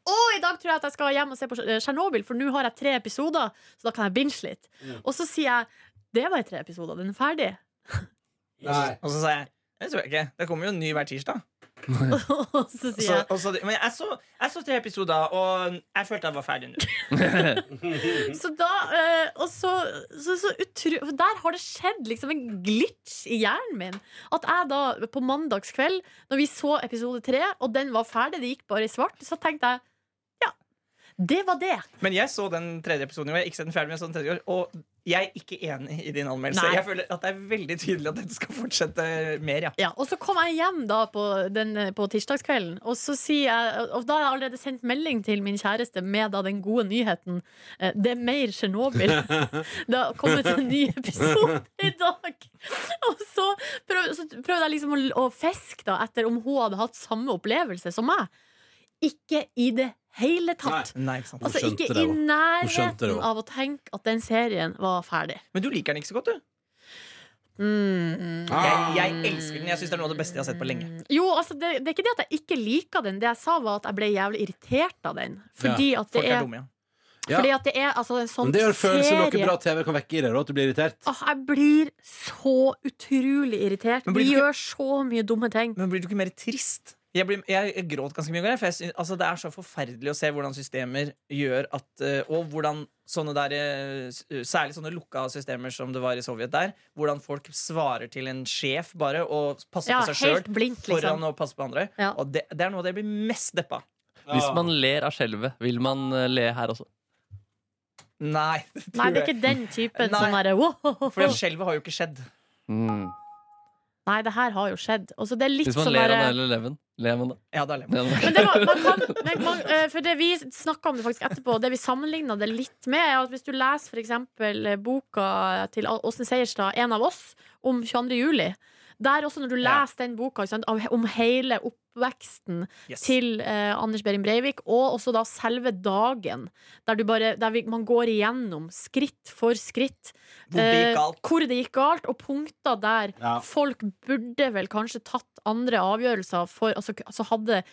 C: å, i dag tror jeg at jeg skal hjem og se på Tsjer- Tsjernobyl, for nå har jeg tre episoder. Så da kan jeg binge litt. Og så sier jeg det var i tre episoder, den er ferdig.
B: Nei.
A: Og så sa jeg det tror jeg ikke. Det kommer jo en ny hver tirsdag.
C: og så
A: Så,
C: sier jeg
A: og så, men jeg så, jeg så tre episoder, og jeg følte jeg var ferdig nå.
C: Så da eh, Og så, så, så utro... For der har det skjedd liksom en glitch i hjernen min. At jeg da, på mandagskveld, når vi så episode tre, og den var ferdig, det gikk bare i svart, så tenkte jeg ja, det var det.
A: Men jeg så den tredje episoden i går. Jeg har ikke sett den ferdig, men jeg så den tredje i går. Og jeg er ikke enig i din anmeldelse.
C: Nei.
A: Jeg føler at det er veldig tydelig at dette skal fortsette mer, ja.
C: Ja, og så kom jeg hjem da på, den, på tirsdagskvelden, og, så sier jeg, og da har jeg allerede sendt melding til min kjæreste med da den gode nyheten. eh, Det er mer Tsjernobyl. Det har kommet en ny episode i dag. Og så prøv- så prøvde jeg liksom å, å fiske da, etter om hun hadde hatt samme opplevelse som meg. Ikke i det hele tatt.
A: Nei, ikke sant.
C: Altså
B: skjønte
C: ikke
B: det
C: i
B: også. skjønte det
C: nærheten
B: også.
C: av å tenke at den serien var ferdig.
A: Men du liker den ikke så godt, du.
C: Mm.
A: Ah. Jeg, jeg elsker den. Jeg syns det er noe av det beste jeg har sett på lenge.
C: Jo, altså det, det er ikke det at jeg ikke liker den. Det jeg sa, var at jeg ble jævlig irritert av den. Fordi at det
A: Folk er
C: er,
A: dumme, ja.
C: fordi at det er altså, en sånn
B: Men det gjør følelsen noe
C: serie-
B: bra TV kan vekke i deg, da, at du blir irritert.
C: Åh, jeg blir så utrolig irritert.
A: Men blir
C: Vi
A: du ikke-
C: gjør så mye dumme ting.
A: Men blir du ikke mer trist? Jeg, blir, jeg gråt ganske mye. i går, jeg, For jeg synes, altså, det er så forferdelig å se hvordan systemer gjør at eh, Og hvordan sånne der eh, s- Særlig sånne lukka systemer som det var i Sovjet der. Hvordan folk svarer til en sjef bare og passer
C: Ja,
A: på seg sjøl
C: helt blindt, liksom.
A: foran å passe på andre.
C: Ja.
A: Og det, det er noe av det jeg blir mest deppa.
D: Hvis man ler av skjelvet, vil man eh, le her også?
A: Nei. det tror
C: Nei, det er
A: jeg.
C: ikke den typen
A: Nei.
C: sånn derre
A: For det
C: «Wow».
A: skjelvet har jo ikke skjedd.
D: Mm.
C: Nei, det her har jo skjedd. Altså, det er litt
D: Hvis man
C: sånn
D: ler av
C: derre-
D: Nile Eleven, ler man da?
A: Ja, det er lem.
D: Ler man
C: Men
D: ikke?
C: det var, man kan, men man, eh, for det vi snakka om det faktisk etterpå, og det vi sammenligna det litt med, er at hvis du leser for eksempel eh, boka til Al- Åsne Seierstad, En av oss, om 22. juli der også Når du
A: Ja.
C: leser den boka ikke sant, av- om hele oppveksten
A: Yes.
C: til eh, Anders Behring Breivik, og også da selve dagen, der, du bare, der vi, man går igjennom skritt for skritt
A: Hvor det
C: eh,
A: gikk galt.
C: hvor det gikk galt, og punkter der
B: Ja.
C: folk burde vel kanskje tatt andre avgjørelser for, altså, altså hadde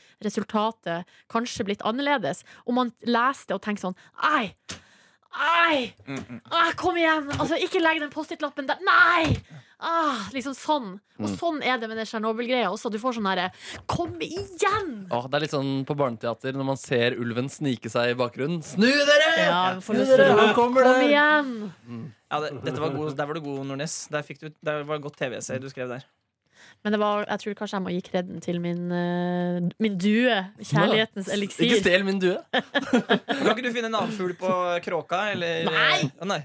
C: resultatet kanskje blitt annerledes. Og man leser det og tenker sånn Ei! Ei!
A: Mm, mm.
C: Ah, kom igjen! Altså, ikke legg den Post-It-lappen der. Nei! ah, liksom sånn. Og
A: Mm.
C: sånn er det med den Tsjernobyl-greia også. Du får sånn herre Kom igjen!
D: Åh, det er litt sånn på barneteater når man ser ulven snike seg i bakgrunnen. Snu dere!
C: Ja, vi får
D: Snu
C: lyst til
D: dere!
C: det.
D: Han kommer
C: Kom
D: der!
C: igjen!
A: Ja, det, dette var god, der var du god, Nordnes. Der, fikk du, der var godt TV-serie du skrev der.
C: Men det var, jeg tror kanskje jeg må gi kreden til min, eh, min due. Kjærlighetens
D: Ikke
C: eliksir.
D: stel min due.
A: Kan ikke du finne en annen fugl på kråka? Eller,
C: Nei!
A: Å, nei.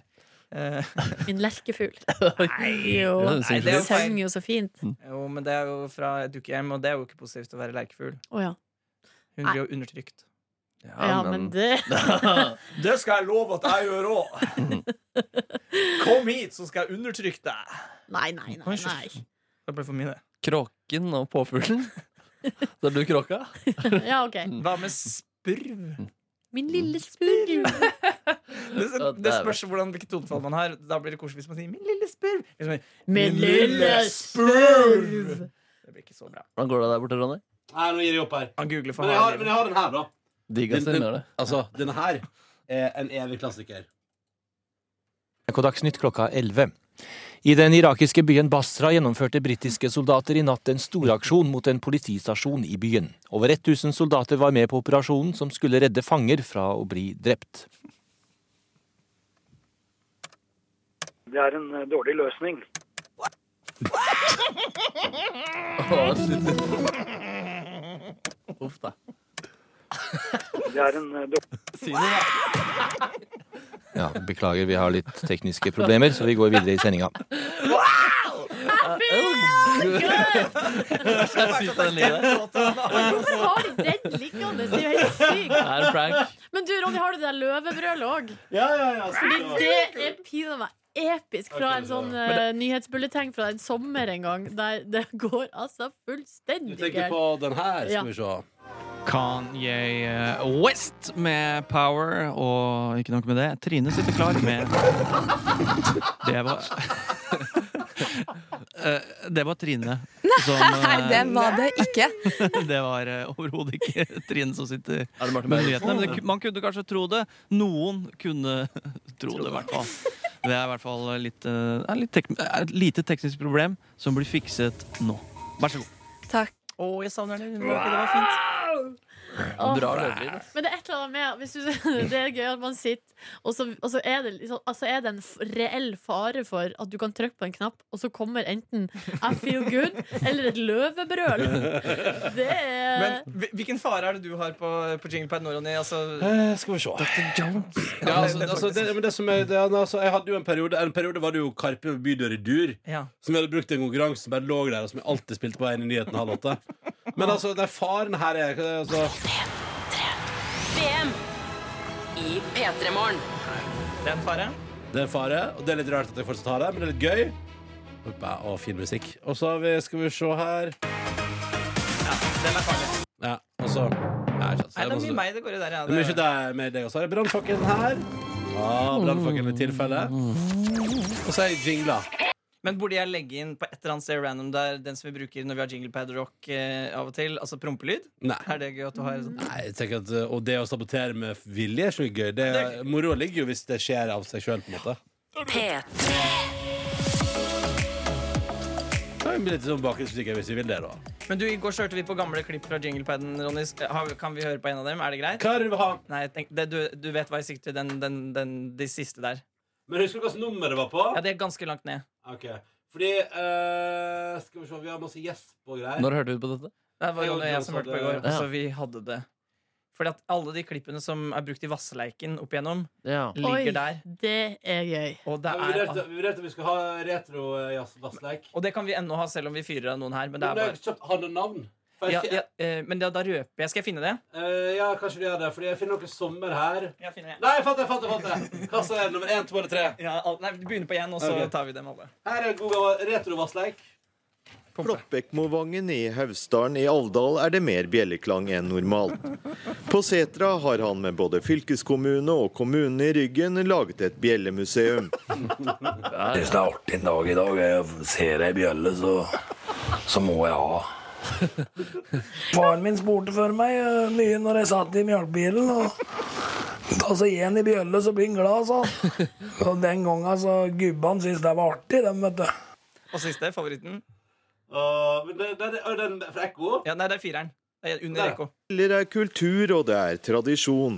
A: Eh,
C: Min lerkefugl. Nei, jo.
D: Ja, den
A: synger
C: Den
A: fint.
C: sang jo så fint.
A: jo, men det er jo fra et dukkehjem, og det er jo ikke positivt å være lerkefugl.
C: Å ja.
A: Hun blir jo undertrykt.
C: ja. Men det
A: Det skal jeg love at jeg gjør òg! Kom hit, så skal jeg undertrykke deg!
C: Nei, nei, nei. nei.
A: Det ble for mye, det.
D: Kråken og påfuglen. Så er du kråka?
C: Ja, OK.
A: Hva med spurv?
C: Min lille spurv.
A: Det,
D: Ja,
A: det
D: der.
A: spørs hvordan, hvilket tonefall man har. Da blir det koselig hvis man sier 'min lille spurv'. Liksom,
C: Min lille spurv.
A: det blir ikke så bra.
D: Hvordan går det der borte, Ronny?
B: Nei, nå gir jeg opp her.
A: Han googler for
B: Men jeg har,
A: harde
B: men
A: livet.
B: jeg har den her, da.
D: Digg
B: Den,
D: at du gjør
B: den,
D: det.
B: altså, denne her er en evig klassiker.
F: NRK Dagsnytt klokka 11. I den irakiske byen Basra gjennomførte britiske soldater i natt en storaksjon mot en politistasjon i byen. Over 1000 soldater var med på operasjonen, som skulle redde fanger fra å bli drept.
G: Det er en eh, dårlig løsning.
D: Åh, shit. Uff da.
G: Det er en eh, dårlig
D: Si noe, da.
F: Ja, Beklager, vi har litt tekniske problemer, så vi går videre i sendinga.
C: Oh,
D: Jeg synes den ligger der.
C: Hvorfor har de den liggende? Det er jo helt sykt.
D: Det er en prank.
C: Men du, Ronny, har du det der løvebrølet òg?
B: Ja, ja, ja.
C: Fordi det er pinadø meg episk fra en sånn eh, nyhetsbulleteng fra en sommer en gang, der det går altså
B: Du
C: fullstendig
B: tenker
C: gærent.
B: på den her,
C: Ja.
B: skal vi se.
H: Kanye
A: eh,
H: West med Power, og ikke nok med det, Trine sitter klar med Det var Eh, Det var Trine som
I: Nei,
H: eh,
I: det var det ikke.
H: det var eh, overhodet ikke Trine som sitter
D: Er det Martin
H: med
D: Beyer?
H: nyhetene. Men det, ku- man kunne kanskje tro det. Noen kunne tro det, i hvert fall. Det er i hvert fall litt, eh, er litt tek er et lite teknisk problem som blir fikset nå. Vær så god.
I: Takk.
A: Å, jeg savner det. Det var fint.
C: Åh.
D: Bra løvlyd. ass.
C: Men det er et eller annet med hvis du, Det er gøy at man sitter, og så, og så er, det, liksom, altså er det en f- reell fare for at du kan trykke på en knapp, og så kommer enten I feel good eller et løvebrøl. Det er
A: Men hvil- hvilken fare er det du har på, på jinglepad nå, Ronny? Altså,
B: Eh, skal vi se. Dr. Jones. Ja, altså,
A: det er
B: altså, det,
A: faktisk-
B: men det som er, det, er- altså, jeg hadde jo en periode En periode var det jo Karpe Bydør i dur,
A: ja.
B: som jeg hadde brukt i en konkurranse som bare lå der, og som jeg alltid spilte på en i nyheten halv åtte. Men altså, det er faren her er altså,
J: VM i P3 Morgen.
A: Det er en fare.
B: Det er fare, og det er litt rart at jeg fortsatt har det, men det er litt gøy. Hoppa, Og fin musikk. Og så har vi, skal vi se her
A: Den er farlig.
B: Ja, og så Nei, ikke sant, så
A: Nei, det er
B: masse-
A: mye meg det går i der. Ja.
B: Det er mye
A: Det,
B: der med deg også. Har jeg brannfakkelen her? Ja, brannfakkelen i tilfelle. Og så er jeg jingla.
A: men burde jeg legge inn på et eller annet sted random der den som vi bruker når vi har jinglepad rock eh, av og til? Altså prompelyd?
B: Nei.
A: Er det gøy at du har sånn?
B: Nei, jeg tenker at, uh, Og det å sabotere med vilje er ikke noe gøy. Det,
A: Det-
B: moroa ligger jo hvis det skjer av seg sjøl.
J: P3
B: Litt sånn bakgrunnsmusikk hvis vi vil det, da.
A: Men du, i går så hørte vi på gamle klipp fra jinglepaden, Ronny. Har- Kan vi høre på en av dem? Er det greit?
B: Hva er det du vil ha?
A: Nei, jeg tenk, det, du, du vet hva jeg sikter til. Den, den, den, de siste der.
B: Men husker du hvilket nummer det var på?
A: Ja, det er ganske langt ned.
B: Ok, Fordi eh, Skal vi se, vi har masse gjesp og greier.
D: Når hørte du på dette?
A: Det var
B: Ja,
A: Ronny og jeg som
B: Jonas
A: hørte på i går.
B: hadde-
D: Ja.
A: Så vi hadde det. Fordi at alle de klippene som er brukt i Vassleiken opp igjennom,
D: Ja.
A: ligger der.
C: det er gøy.
A: Og det
B: Ja, vi
A: er
B: vurderte- vi vurderte om vi skulle ha eh, retro-jazz-vassleik.
A: Og det kan vi ennå ha selv om vi fyrer av noen her. Men, det
B: Men
A: er
B: det er
A: bare,
B: kjapt. Har det navn? For jeg
A: ja,
B: ikke-
A: ja, eh, men ja, da røper jeg. Skal jeg finne det?
B: Eh, ja, kanskje du gjør det, Fordi jeg finner noe sommer her.
A: Jeg finner det.
B: Nei, jeg fant det! jeg fant det, jeg fant det Kassa er nummer én, to eller tre.
A: Ja, al- nei, vi begynner på én, og så
B: Ok.
A: tar vi dem alle.
B: Her er god gammel retro-vassleik.
K: Ploppekmovangen i Haugstaren i Alvdal er det mer bjelleklang enn normalt. På setra har han med både fylkeskommune og kommunen i ryggen laget et bjellemuseum.
E: Det som er artig en dag i dag, er at ser jeg ei bjelle, så, så må jeg ha. Faren min spurte for meg eh, mye når jeg satt i melkebilen. Og da så gir han i bjelle, så blir han glad, sa han. Og den gangen så gubba han syntes det var artig, dem, vet du.
A: Og siste, favoritten.
B: Åh, men det, det, det, er den fra Ekko?
A: Ja, nei, det er fireren. Det er under
B: Der.
A: Ekko.
K: Bjeller er kultur, og det er tradisjon.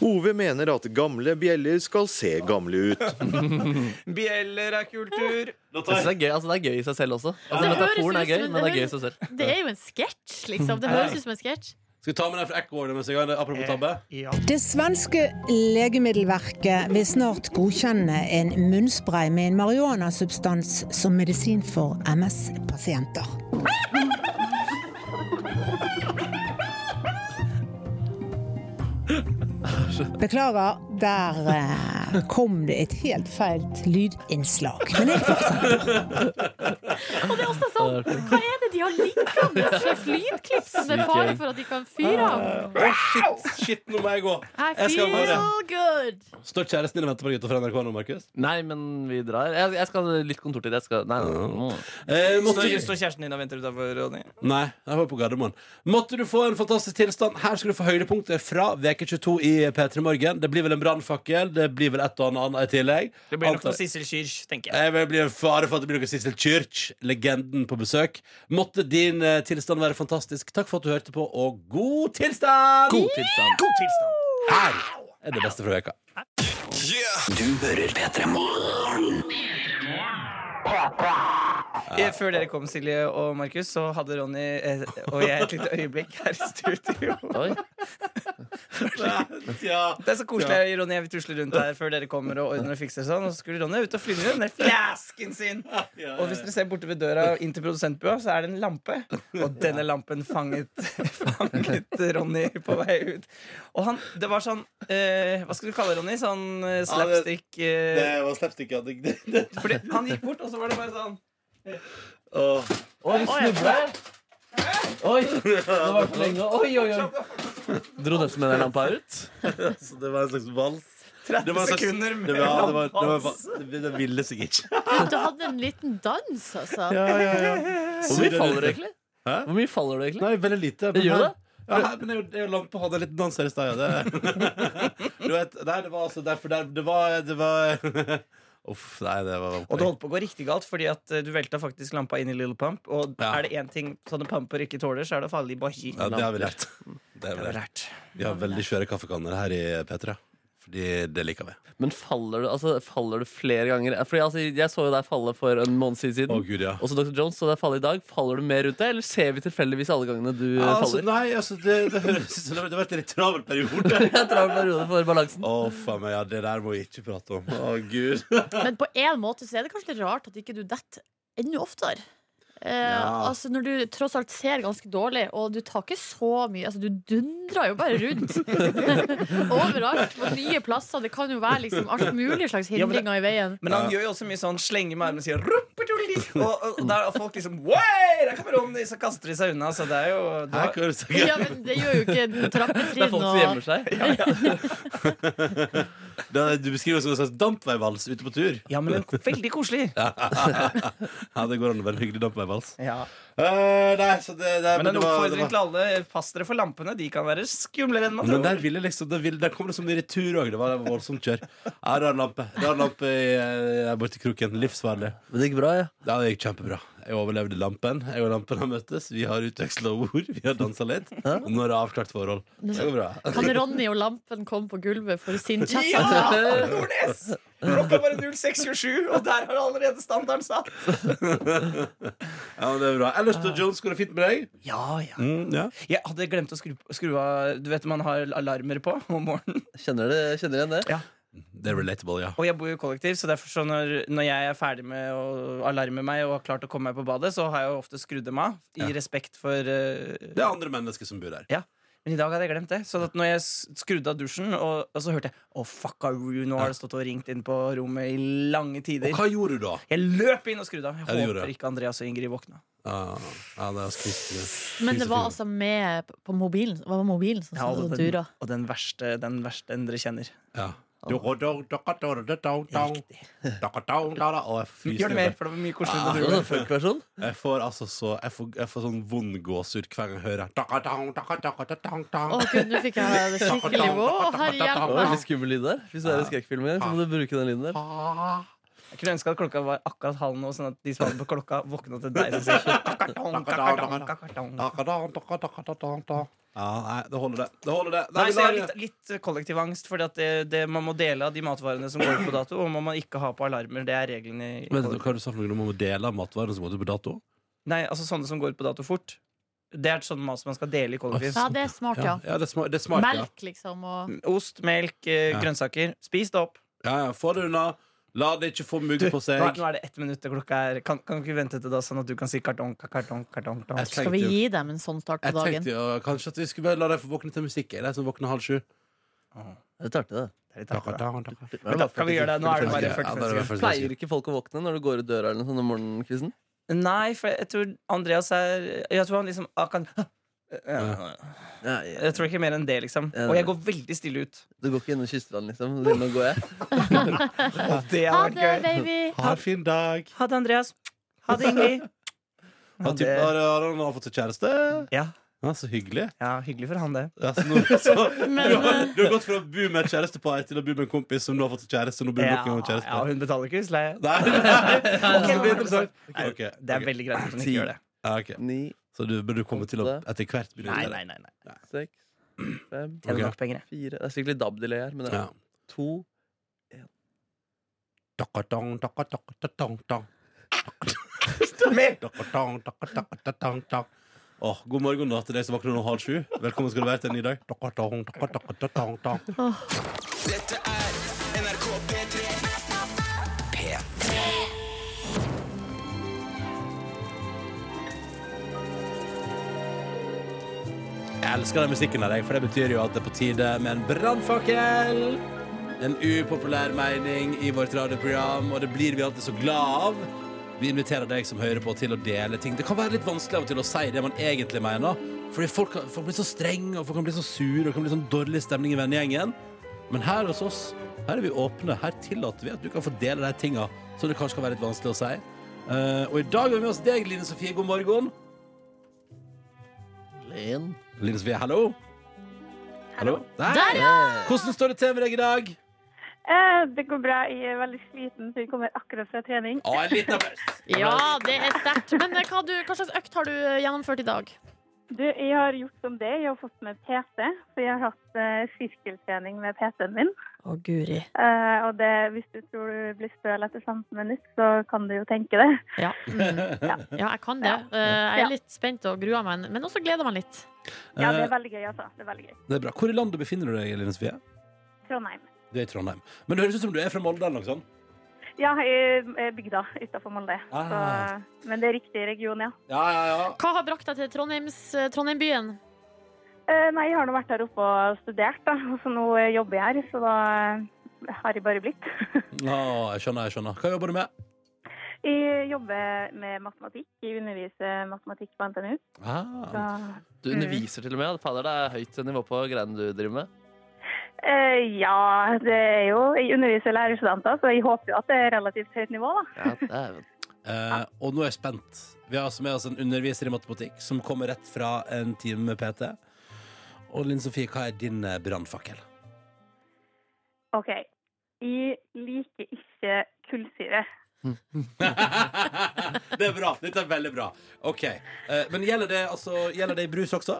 K: Ove mener at gamle bjeller skal se gamle ut.
A: Bjeller er kultur.
B: Da
D: Jeg
B: tar
D: synes
B: jeg
D: det er gøy, altså det er gøy i seg selv også.
C: Det
D: Altså,
C: høres
D: metaforen
C: jo
D: er gøy,
C: ut som-
D: men det er gøy i
C: høres-
D: seg selv.
C: Det er jo en sketsj, liksom. Det høres ut som en sketsj.
B: Skal vi ta med den fra Ekko? Mens jeg har det,
A: Eh,
B: apropos tabbe?
I: Det svenske legemiddelverket vil snart godkjenne en munnspray med en marihuanasubstans som medisin for MS-pasienter. Beklager, der eh, kom det et helt feil lydinnslag. Men jeg fortsetter.
C: Og det er også sånn, hva er det de har liggende slags lydklipp som det er fare for at de kan fyre av?
B: Åh, shit, shit, nå må jeg gå!
C: I
B: Ah. Jeg skal
C: feel good!
B: Står kjæresten din og venter på gutta fra NRK nå, Markus?
D: Nei, men vi drar. Jeg, jeg skal ha litt kontortid. Jeg skal Nei, nei, nei.
B: Eh, måtte...
A: Står står kjæresten din og venter utafor, Ronny?
B: Nei, jeg var på Gardermoen. Måtte du få en fantastisk tilstand. Her skal du få høydepunkter fra veke 22 i P3 Morgen. Det blir vel en brannfakkel. Det blir vel et og annet i tillegg.
A: Det blir nok
B: Antar-
A: noe Sissel Kyrkj, tenker jeg.
B: Jeg vil bli en fare for at det blir noe Sissel Kyrkj, legenden, på besøk. Måtte din eh, tilstand være fantastisk. Takk for at du hørte på, og god tilstand!
D: God tilstand.
A: God tilstand.
B: Her er det beste fra veka.
A: Eh, Før dere kom, Silje og Markus, så hadde Ronny eh, og jeg et lite øyeblikk her i studio.
D: Oi.
B: Ja.
A: Det er så koselig. Ronny og jeg tusler rundt her før dlyr kommer og ordner og fikser sånn. Og så skulle Ronny ut og flytte den der flasken sin. Og hvis dere ser borte ved døra inn til produsentbua, så er det en lampe. Og denne lampen fanget, fanget Ronny på vei ut. Og han Det var sånn eh, Hva skal du kalle Ronny? Sånn eh, slapstick eh,
B: var slapstikket. Det, det,
A: Fordi han gikk bort, og så var det bare sånn
D: Oi, snubler. Oi, det var for lenge. Oi, oi, oi. Dro den som en lampa ut?
B: det var en slags vals.
A: 30 sekunder med
B: det var, det var, det var,
A: lampas.
B: det, det ville seg ikke.
C: Du hadde en liten dans, altså.
D: Hvor mye faller du egentlig?
B: Hæ?
D: Hvor mye faller du egentlig?
B: Nei, veldig lite.
D: Det gjør det.
B: Ja, her- men det er jo- det er jo lampe hadde en liten danser i stad, ja. Det, du vet, nei, det var altså derfor der, Det var, det var Uff, nei, det var
A: Og det holdt på å gå riktig galt, fordi at eh, du velta faktisk lampa inn i Little Pump. Og
B: Ja.
A: er det én ting sånne pumper ikke tåler, så er det å falle i baji.
B: Ja, det har vi lært. Det har vi
A: Det er
B: lært.
A: rart.
B: Vi har veldig skjøre kaffekanner her i P3. Fordi det liker vi.
D: Men faller du, altså, faller du flere ganger? Fordi altså, Jeg så jo deg falle for en måned siden.
B: Å gud, ja.
D: Også Dr. Jones, så det er falle i dag. Faller du mer rundt det, eller ser vi tilfeldigvis alle gangene du eh,
B: Altså,
D: faller?
B: nei, altså, det, det høres ut som det har vært en litt travel periode.
D: Jeg drar en periode for balansen.
B: Å, faen meg, ja, det der må vi ikke prate om. Å, gud.
C: Men på en måte så er det kanskje litt rart at ikke du detter enda oftere. Eh,
B: Ja.
C: Altså Når du tross alt ser ganske dårlig, og du tar ikke så mye Altså Du dundrer jo bare rundt overalt på nye plasser. Det kan jo være liksom alt mulig slags
A: Ja, men det-
C: hindringer i veien.
A: Men han gjør jo også mye sånn slenger med armen og sier «Rumpetulli!» Og, og der er folk liksom «Wey, Der kommer Ronny! Så kaster de seg unna. Så det er jo
B: Her
A: det var,
B: kan du si-
C: Ja, men det gjør jo ikke
D: Det er
C: trappetrinn
D: folk som
C: og
D: gjemmer seg.
B: Det, du beskriver det som en slags dampveivals ute på tur.
A: Ja, men det er veldig koselig.
B: Ja, det går an å være en hyggelig dampveivals.
A: Ja.
B: Eh, nei, så det, det,
A: Men en
B: det var- det
A: oppfordring
B: var-
A: til alle. Pass dere for lampene. De kan være skumlere enn man
B: Men
A: tror.
B: der, ville liksom, der, ville, der kom det som i retur òg. Det var det var voldsomt kjør. Ja, rar lampe. Rar lampe i, eh, borti kroken. Livsfarlig.
D: Men det gikk bra, ja.
B: Ja, det gikk kjempebra. Jeg overlevde lampen. Jeg og lampen har møttes. Vi har utveksla ord. Vi har dansa litt. Og nå er det avklart forhold. Det går bra.
C: Kan Ronny og lampen komme på gulvet for sin chat?
A: Ja! Nordnes! Klokka er bare 06.27, og der har allerede standarden satt.
B: Ja, men det er bra. Ellers, da, Jones, går det fint med deg?
A: Ja, ja.
B: Mm, ja.
A: Jeg hadde glemt å skru, skru av Du vet man har alarmer på om morgenen.
D: Kjenner du kjenner igjen det?
B: Det er relatable, ja.
A: Og jeg bor jo i kollektiv, så derfor så når, når jeg er ferdig med å alarme meg og har klart å komme meg på badet, så har jeg jo ofte skrudd dem av. I respekt for eh,
B: Det er andre mennesker som bor der.
A: Men i dag hadde jeg glemt det. Så at når jeg s- skrudde av dusjen, og, og så hørte jeg Å, fuckaroo, nå har det stått og ringt inn på rommet i lange
B: Og
A: tider.
B: hva gjorde du da?
A: Jeg løp inn og skrudde av. Jeg
B: Ja, det gjorde
A: håper
B: jeg.
A: ikke Andreas og Ingrid våkna.
B: Sånn Ja, ja, det er skrift,
C: Men det var altså med på mobilen. Det var mobilen som
A: Ja, og,
C: sånn,
A: den,
C: dura.
A: og den verste den verste en dere kjenner.
B: ja. Å, jeg fryser
A: Gjør det mer, for det var mye koseligere med
D: Det var
A: dura.
D: sånn funkversjon.
B: Jeg får altså så Jeg får, jeg får sånn vond gåsehud hver gang jeg hører taka, tang, taka, taka, ta, tang, tang.
C: Å gud, nå fikk jeg det skikkelig Å, herre
D: Det
C: hjelp
D: var
C: meg.
D: veldig skummel lyd der. Hvis du er i skrekkfilm, en gang, så må du bruke den lyden der.
A: Jeg kunne ønske at klokka var akkurat halv nå, sånn at de som hadde på klokka, våkna til deg. som sier kakatong, kakatong, kakatong.
B: Ja, nei, det holder, det. Det holder det. Nei,
A: Nei,
B: men
A: så jeg har
B: da-
A: litt, litt kollektiv angst, fordi at det, det, man må dele av de matvarene som går ut på dato, og man må ikke ha på alarmer. Det er reglene. i-
B: Vet du hva du sa for noe om å dele av matvarene som måtte på dato?
A: Nei, altså sånne som går ut på dato fort. Det er sånn mat som man skal dele i kollektiv.
C: Ja, det er smart, ja.
B: Ja, det er smart, det er smart ja.
C: Melk, liksom, og
A: Ost, melk, eh,
B: Ja.
A: grønnsaker. Spis det opp.
B: Ja, ja, få det unna. La det ikke få mugg på
A: Nå, er-
B: seg.
A: nå er det ett minutt til klokka er. Kan, kan du ikke vente til da, sånn at du kan si kartong, ka- kartong, kartong, kartong.
B: Jeg
C: Skal
B: tenkte
C: vi
B: jo-
C: gi dem en sånn start på
B: Jeg tenkte
C: dagen?
B: jo kanskje at vi skulle bare la deg få våkne til musikk. Jeg er det som våkner halv sju.
D: Det er artig, det.
A: Det er litt hardt, da.
B: Kan
A: Men da kan vi gjøre det. Nå er det bare 40 sekunder.
D: Pleier ikke folk å sånn. våkne når du går ut døra eller noe sånt om morgenen? Kristen?
A: Nei, for jeg tror Andreas er Jeg tror han liksom ah, kan,
B: Ja.
D: Ja,
A: Jeg tror ikke mer enn det, liksom. Og jeg går veldig stille ut.
D: Du går ikke innom kysseland, liksom? Så Nå går jeg.
A: Og det
C: Ha
A: har vært
C: det,
A: gøy.
C: baby!
B: Ha en fin dag.
A: Ha det, Andreas. Ha det, Ingrid.
B: Har, typ,
A: det-
B: har, har han har fått seg kjæreste?
A: Ja,
B: Ja, så hyggelig.
A: ja hyggelig for han, det.
B: Ja, så nå, så,
C: Men,
B: du, har,
A: eh,
B: du har gått fra å bo med et kjærestepar til å bo med en kompis som nå har fått seg kjæreste. og Nå bor
A: Ja,
B: dere med en
A: ja,
B: kjæreste.
A: hun betaler ikke husleie.
B: Nei, nei,
A: Ok,
B: det blir
A: men-
B: interessant.
A: Nei,
B: Ok, ok.
A: Det er veldig greit at hun ikke gjør det.
B: Ja, ok.
D: Ni,
B: Så du burde komme til å etter hvert begynne å
A: Nei,
B: gjøre det.
A: nei, nei, nei.
D: seks, fem,
A: Tjener
B: Ok.
A: nok penger, jeg.
D: fire Det er sikkert litt dab-delay her, men det er
B: Ja.
D: to
B: Takatang, takatang, takatang, takatang.
A: Mer!
B: Takatang, takatang, takatang, takatang. Åh, god morgen da til deg som våkner nå halv sju. Velkommen skal du være til en ny dag. Takatang, takatang, takatang, takatang. Jeg elsker den musikken av deg, for det betyr jo at det er på tide med en brannfakkel. En upopulær mening i vårt radioprogram, og det blir vi alltid så glad av. Vi inviterer deg som hører på til å dele ting. Det kan være litt vanskelig av og til å si det man egentlig mener, fordi folk, kan- folk blir så strenge, og folk kan bli så sure, og det kan bli sånn dårlig stemning i vennegjengen. Men her hos oss, her er vi åpne. Her tillater vi at du kan få dele de tinga som det kanskje kan være litt vanskelig å si. Eh, og i dag har vi med oss deg, Line Sofie. God morgen.
D: Len.
B: Line Sofie, hallo. Hallo. Der,
C: der, ja!
B: Hvordan står det til med deg i dag?
L: Eh, det går bra. Jeg er veldig sliten, så jeg kommer akkurat fra trening.
B: Å, en liten applaus.
C: Ja, det er sterkt. Men eh, hva, du, hva slags økt har du eh, gjennomført i dag?
L: Du, jeg har gjort som det. Jeg har fått med PT, så jeg har hatt eh, sirkeltrening med PT-en min.
C: Å, guri.
L: Eh, og det, hvis du tror du blir støl etter 15 minutter, så kan du jo tenke det.
C: Ja, mm. ja jeg kan det. Eh, Jeg er litt spent og gruer meg, men også gleder meg litt.
L: Ja,
B: Eh,
L: det er veldig gøy, altså. Det er veldig gøy.
B: det er bra. Hvor i landet befinner du deg, Line Sofie?
L: Trondheim.
B: Du er i Trondheim. Men det høres ut som du er fra Molde eller noe sånt.
L: Ja, jeg er bygda utafor Molde. Så,
B: Ah.
L: men det er riktig region, ja.
B: Ja, ja, ja.
C: Hva har brakt deg til Trondheims, eh, Trondheim-byen?
L: Eh, nei, jeg har nå vært her oppe og studert, da. Og så nå eh, jobber jeg her, så da eh, har jeg bare blitt.
B: Å, jeg skjønner, jeg skjønner. Hva jobber du med?
L: jeg jobber med matematikk. Jeg underviser matematikk på NTNU. Så,
B: Ah.
D: Du underviser til og med. Fader, det er høyt nivå på greiene du driver med.
L: eh, ja, det er jo Jeg underviser lærerstudenter, så jeg håper jo at det er relativt høyt nivå, da.
D: Ja, det er,
B: Eh, og nå er jeg spent. Vi har altså med oss en underviser i matematikk som kommer rett fra en time med PT. Og Linn Sofie, hva er din eh, brannfakkel?
L: OK. Jeg liker ikke kullsyre.
B: det er bra. Dette er veldig bra. OK. Eh, men gjelder det, altså, gjelder det i brus også?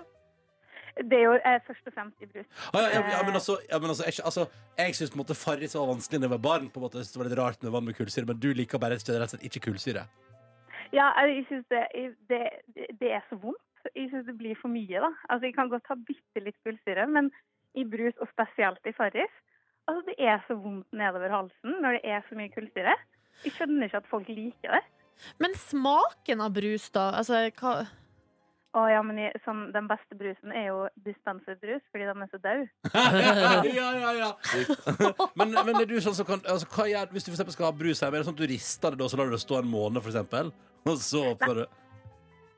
L: Det er jo eh, først og fremst i brus.
B: Ah, ja, ja, ja,
C: Eh.
B: men altså, ja, men altså, jeg, altså, jeg syns på en måte Farris var vanskelig da jeg var barn. På en måte, jeg synes det var litt rart med vann med kullsyre, Men du liker bare generelt sett ikke kullsyre.
L: Ja, eh, jeg jeg synes det, det, det er så vondt. Jeg synes det blir for mye, da. Altså, jeg kan godt ha bitte litt kullsyre, men i brus, og spesielt i Farris Altså, det er så vondt nedover halsen når det er så mye kullsyre. Jeg skjønner ikke at folk liker det.
C: Men smaken av brus, da? Altså, hva
L: Å ja, men jeg, sånn, den beste brusen er jo dispenserbrus, fordi de er så døde.
B: ja, ja, ja. Men, men er du sånn som kan altså, hva gjør, Hvis du for eksempel skal ha brus her, er det sånn at du rister det da, så lar du det stå en måned, for eksempel? Og så åpner du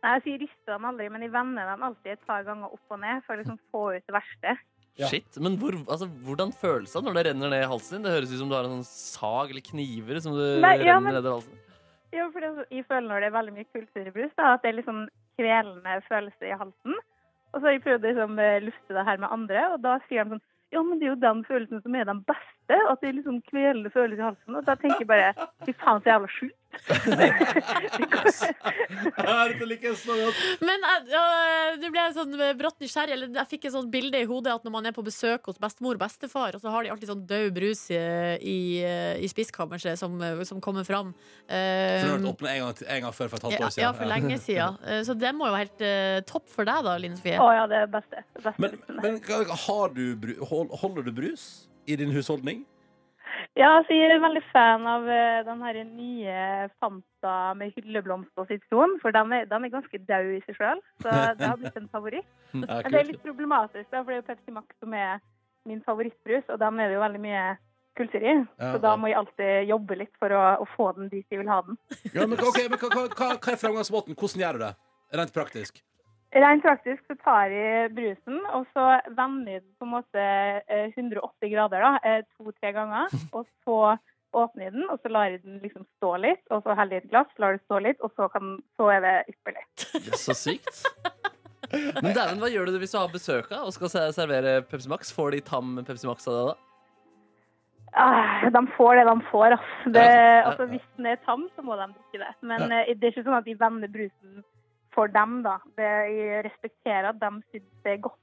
L: Nei, altså, jeg rister dem aldri, men jeg vender dem alltid et par ganger opp og ned for å liksom få ut det verste.
B: Ja.
D: Shit, men hvor, altså, Hvordan føles det når det renner ned i halsen din? Det høres ut som du har en sånn sag eller kniver som du
L: Nei, ja,
D: renner
L: men-
D: nedover halsen.
L: Jo, for det, jeg føler når det er veldig mye kulturbrus, da, at det er litt sånn kvelende følelse i halsen. Og så har jeg prøvd å liksom, eh, lufte det her med andre, og da sier de sånn Ja, men det er jo den følelsen som er den beste. At det er liksom kvelende følelse i halsen. Og da tenker jeg bare fy faen, så jævla sjukt.
C: Men jeg- øh, nå ble jeg sånn øh, brått nysgjerrig. Eller jeg fikk et sånt bilde i hodet at når man er på besøk hos bestemor og bestefar, og så har de alltid sånn død brus i, i, øh, i spiskammerset som, øh, som kommer fram.
B: For du har vært
C: Eh,
B: åpnet en gang, en gang før for et halvt
C: ja,
B: år siden.
C: ja, for lenge siden. Eh, Så det må jo være helt eh, topp for deg, da, Line Sofie.
L: Å ja, det er det beste. Det beste.
B: Men, men har du, bru- hold- holder du brus i din husholdning?
L: Ja, altså jeg er veldig fan av eh, den her nye Fanta med hylleblomst og sitron, for de er, de er ganske døde i seg sjøl. Så det har blitt en favoritt.
M: Ja,
L: Men det
M: kult.
L: er litt problematisk, da, for det er jo Pepsi Max som er min favorittbrus, og dem er det jo veldig mye kultur i.
B: Ja,
L: så da
B: ja.
L: må jeg alltid jobbe litt for å, å få den dit jeg vil ha den.
B: Ja, men, ok, men hva, hva, hva hva er framgangsmåten? Hvordan gjør du det? Rent praktisk.
L: Rent praktisk så tar jeg brusen, og så vender jeg den på en måte eh, 180 grader da, eh, to-tre ganger. Og så åpner jeg den, og så lar jeg den liksom stå litt, og så heller jeg i et glass, lar det stå litt, og så, kan, så er det ypperlig.
D: Det er så sykt. Men dæven, hva gjør du hvis du har besøk av og skal se- servere Pepsi Max? Får de tam Pepsi Max av deg da?
L: Ah, de får det de får, ass. Det,
D: Ja,
L: altså,
D: ja.
L: hvis den er tam, så må de drikke det. Men eh, det er ikke sånn at de vender brusen for dem, da. Det, jeg respekterer at de syns det er godt.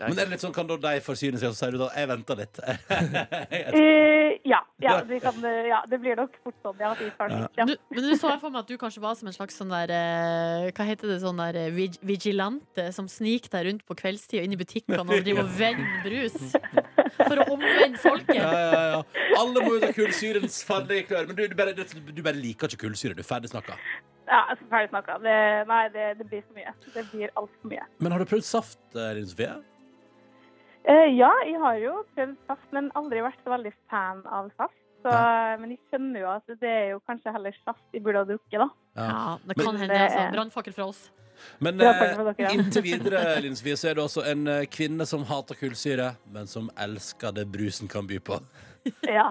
B: Men er det litt sånn, kan da de forsyne seg, og så sier du da 'jeg venter litt'?
L: Eh, ja, ja, vi kan, eh, ja, det blir nok fort sånn. Ja, at vi tar den litt, ja.
C: Du, men du så jeg for meg at du kanskje var som en slags sånn der eh, Hva heter det, sånn der eh, vig vigilante som sniker deg rundt på kveldstid og inn i butikkene og driver og vender brus for å omvende folket.
B: Ja, ja, ja. Alle må ut av kullsyrens farlige klør. Men du, du, bare, du, du bare liker ikke kullsyre. Du er ferdig snakka.
L: Ja, altså, ferdig snakka. Det, nei, det, det blir for mye. Det blir altfor mye.
B: Men har du prøvd saft, eh, Line Sofie?
L: Eh, ja, jeg har jo prøvd saft, men aldri vært så veldig fan av saft. Så, men jeg skjønner jo at det er jo kanskje heller saft jeg burde ha drukket, da.
C: Ja, det
B: Men-
C: kan hende. Altså. Brannfakkel fra oss.
B: Men
L: Ja, takk
B: eh,
L: for dere, ja.
B: inntil videre Linn Sofie, så er det også en eh, kvinne som hater kullsyre, men som elsker det brusen kan by på.
L: Ja.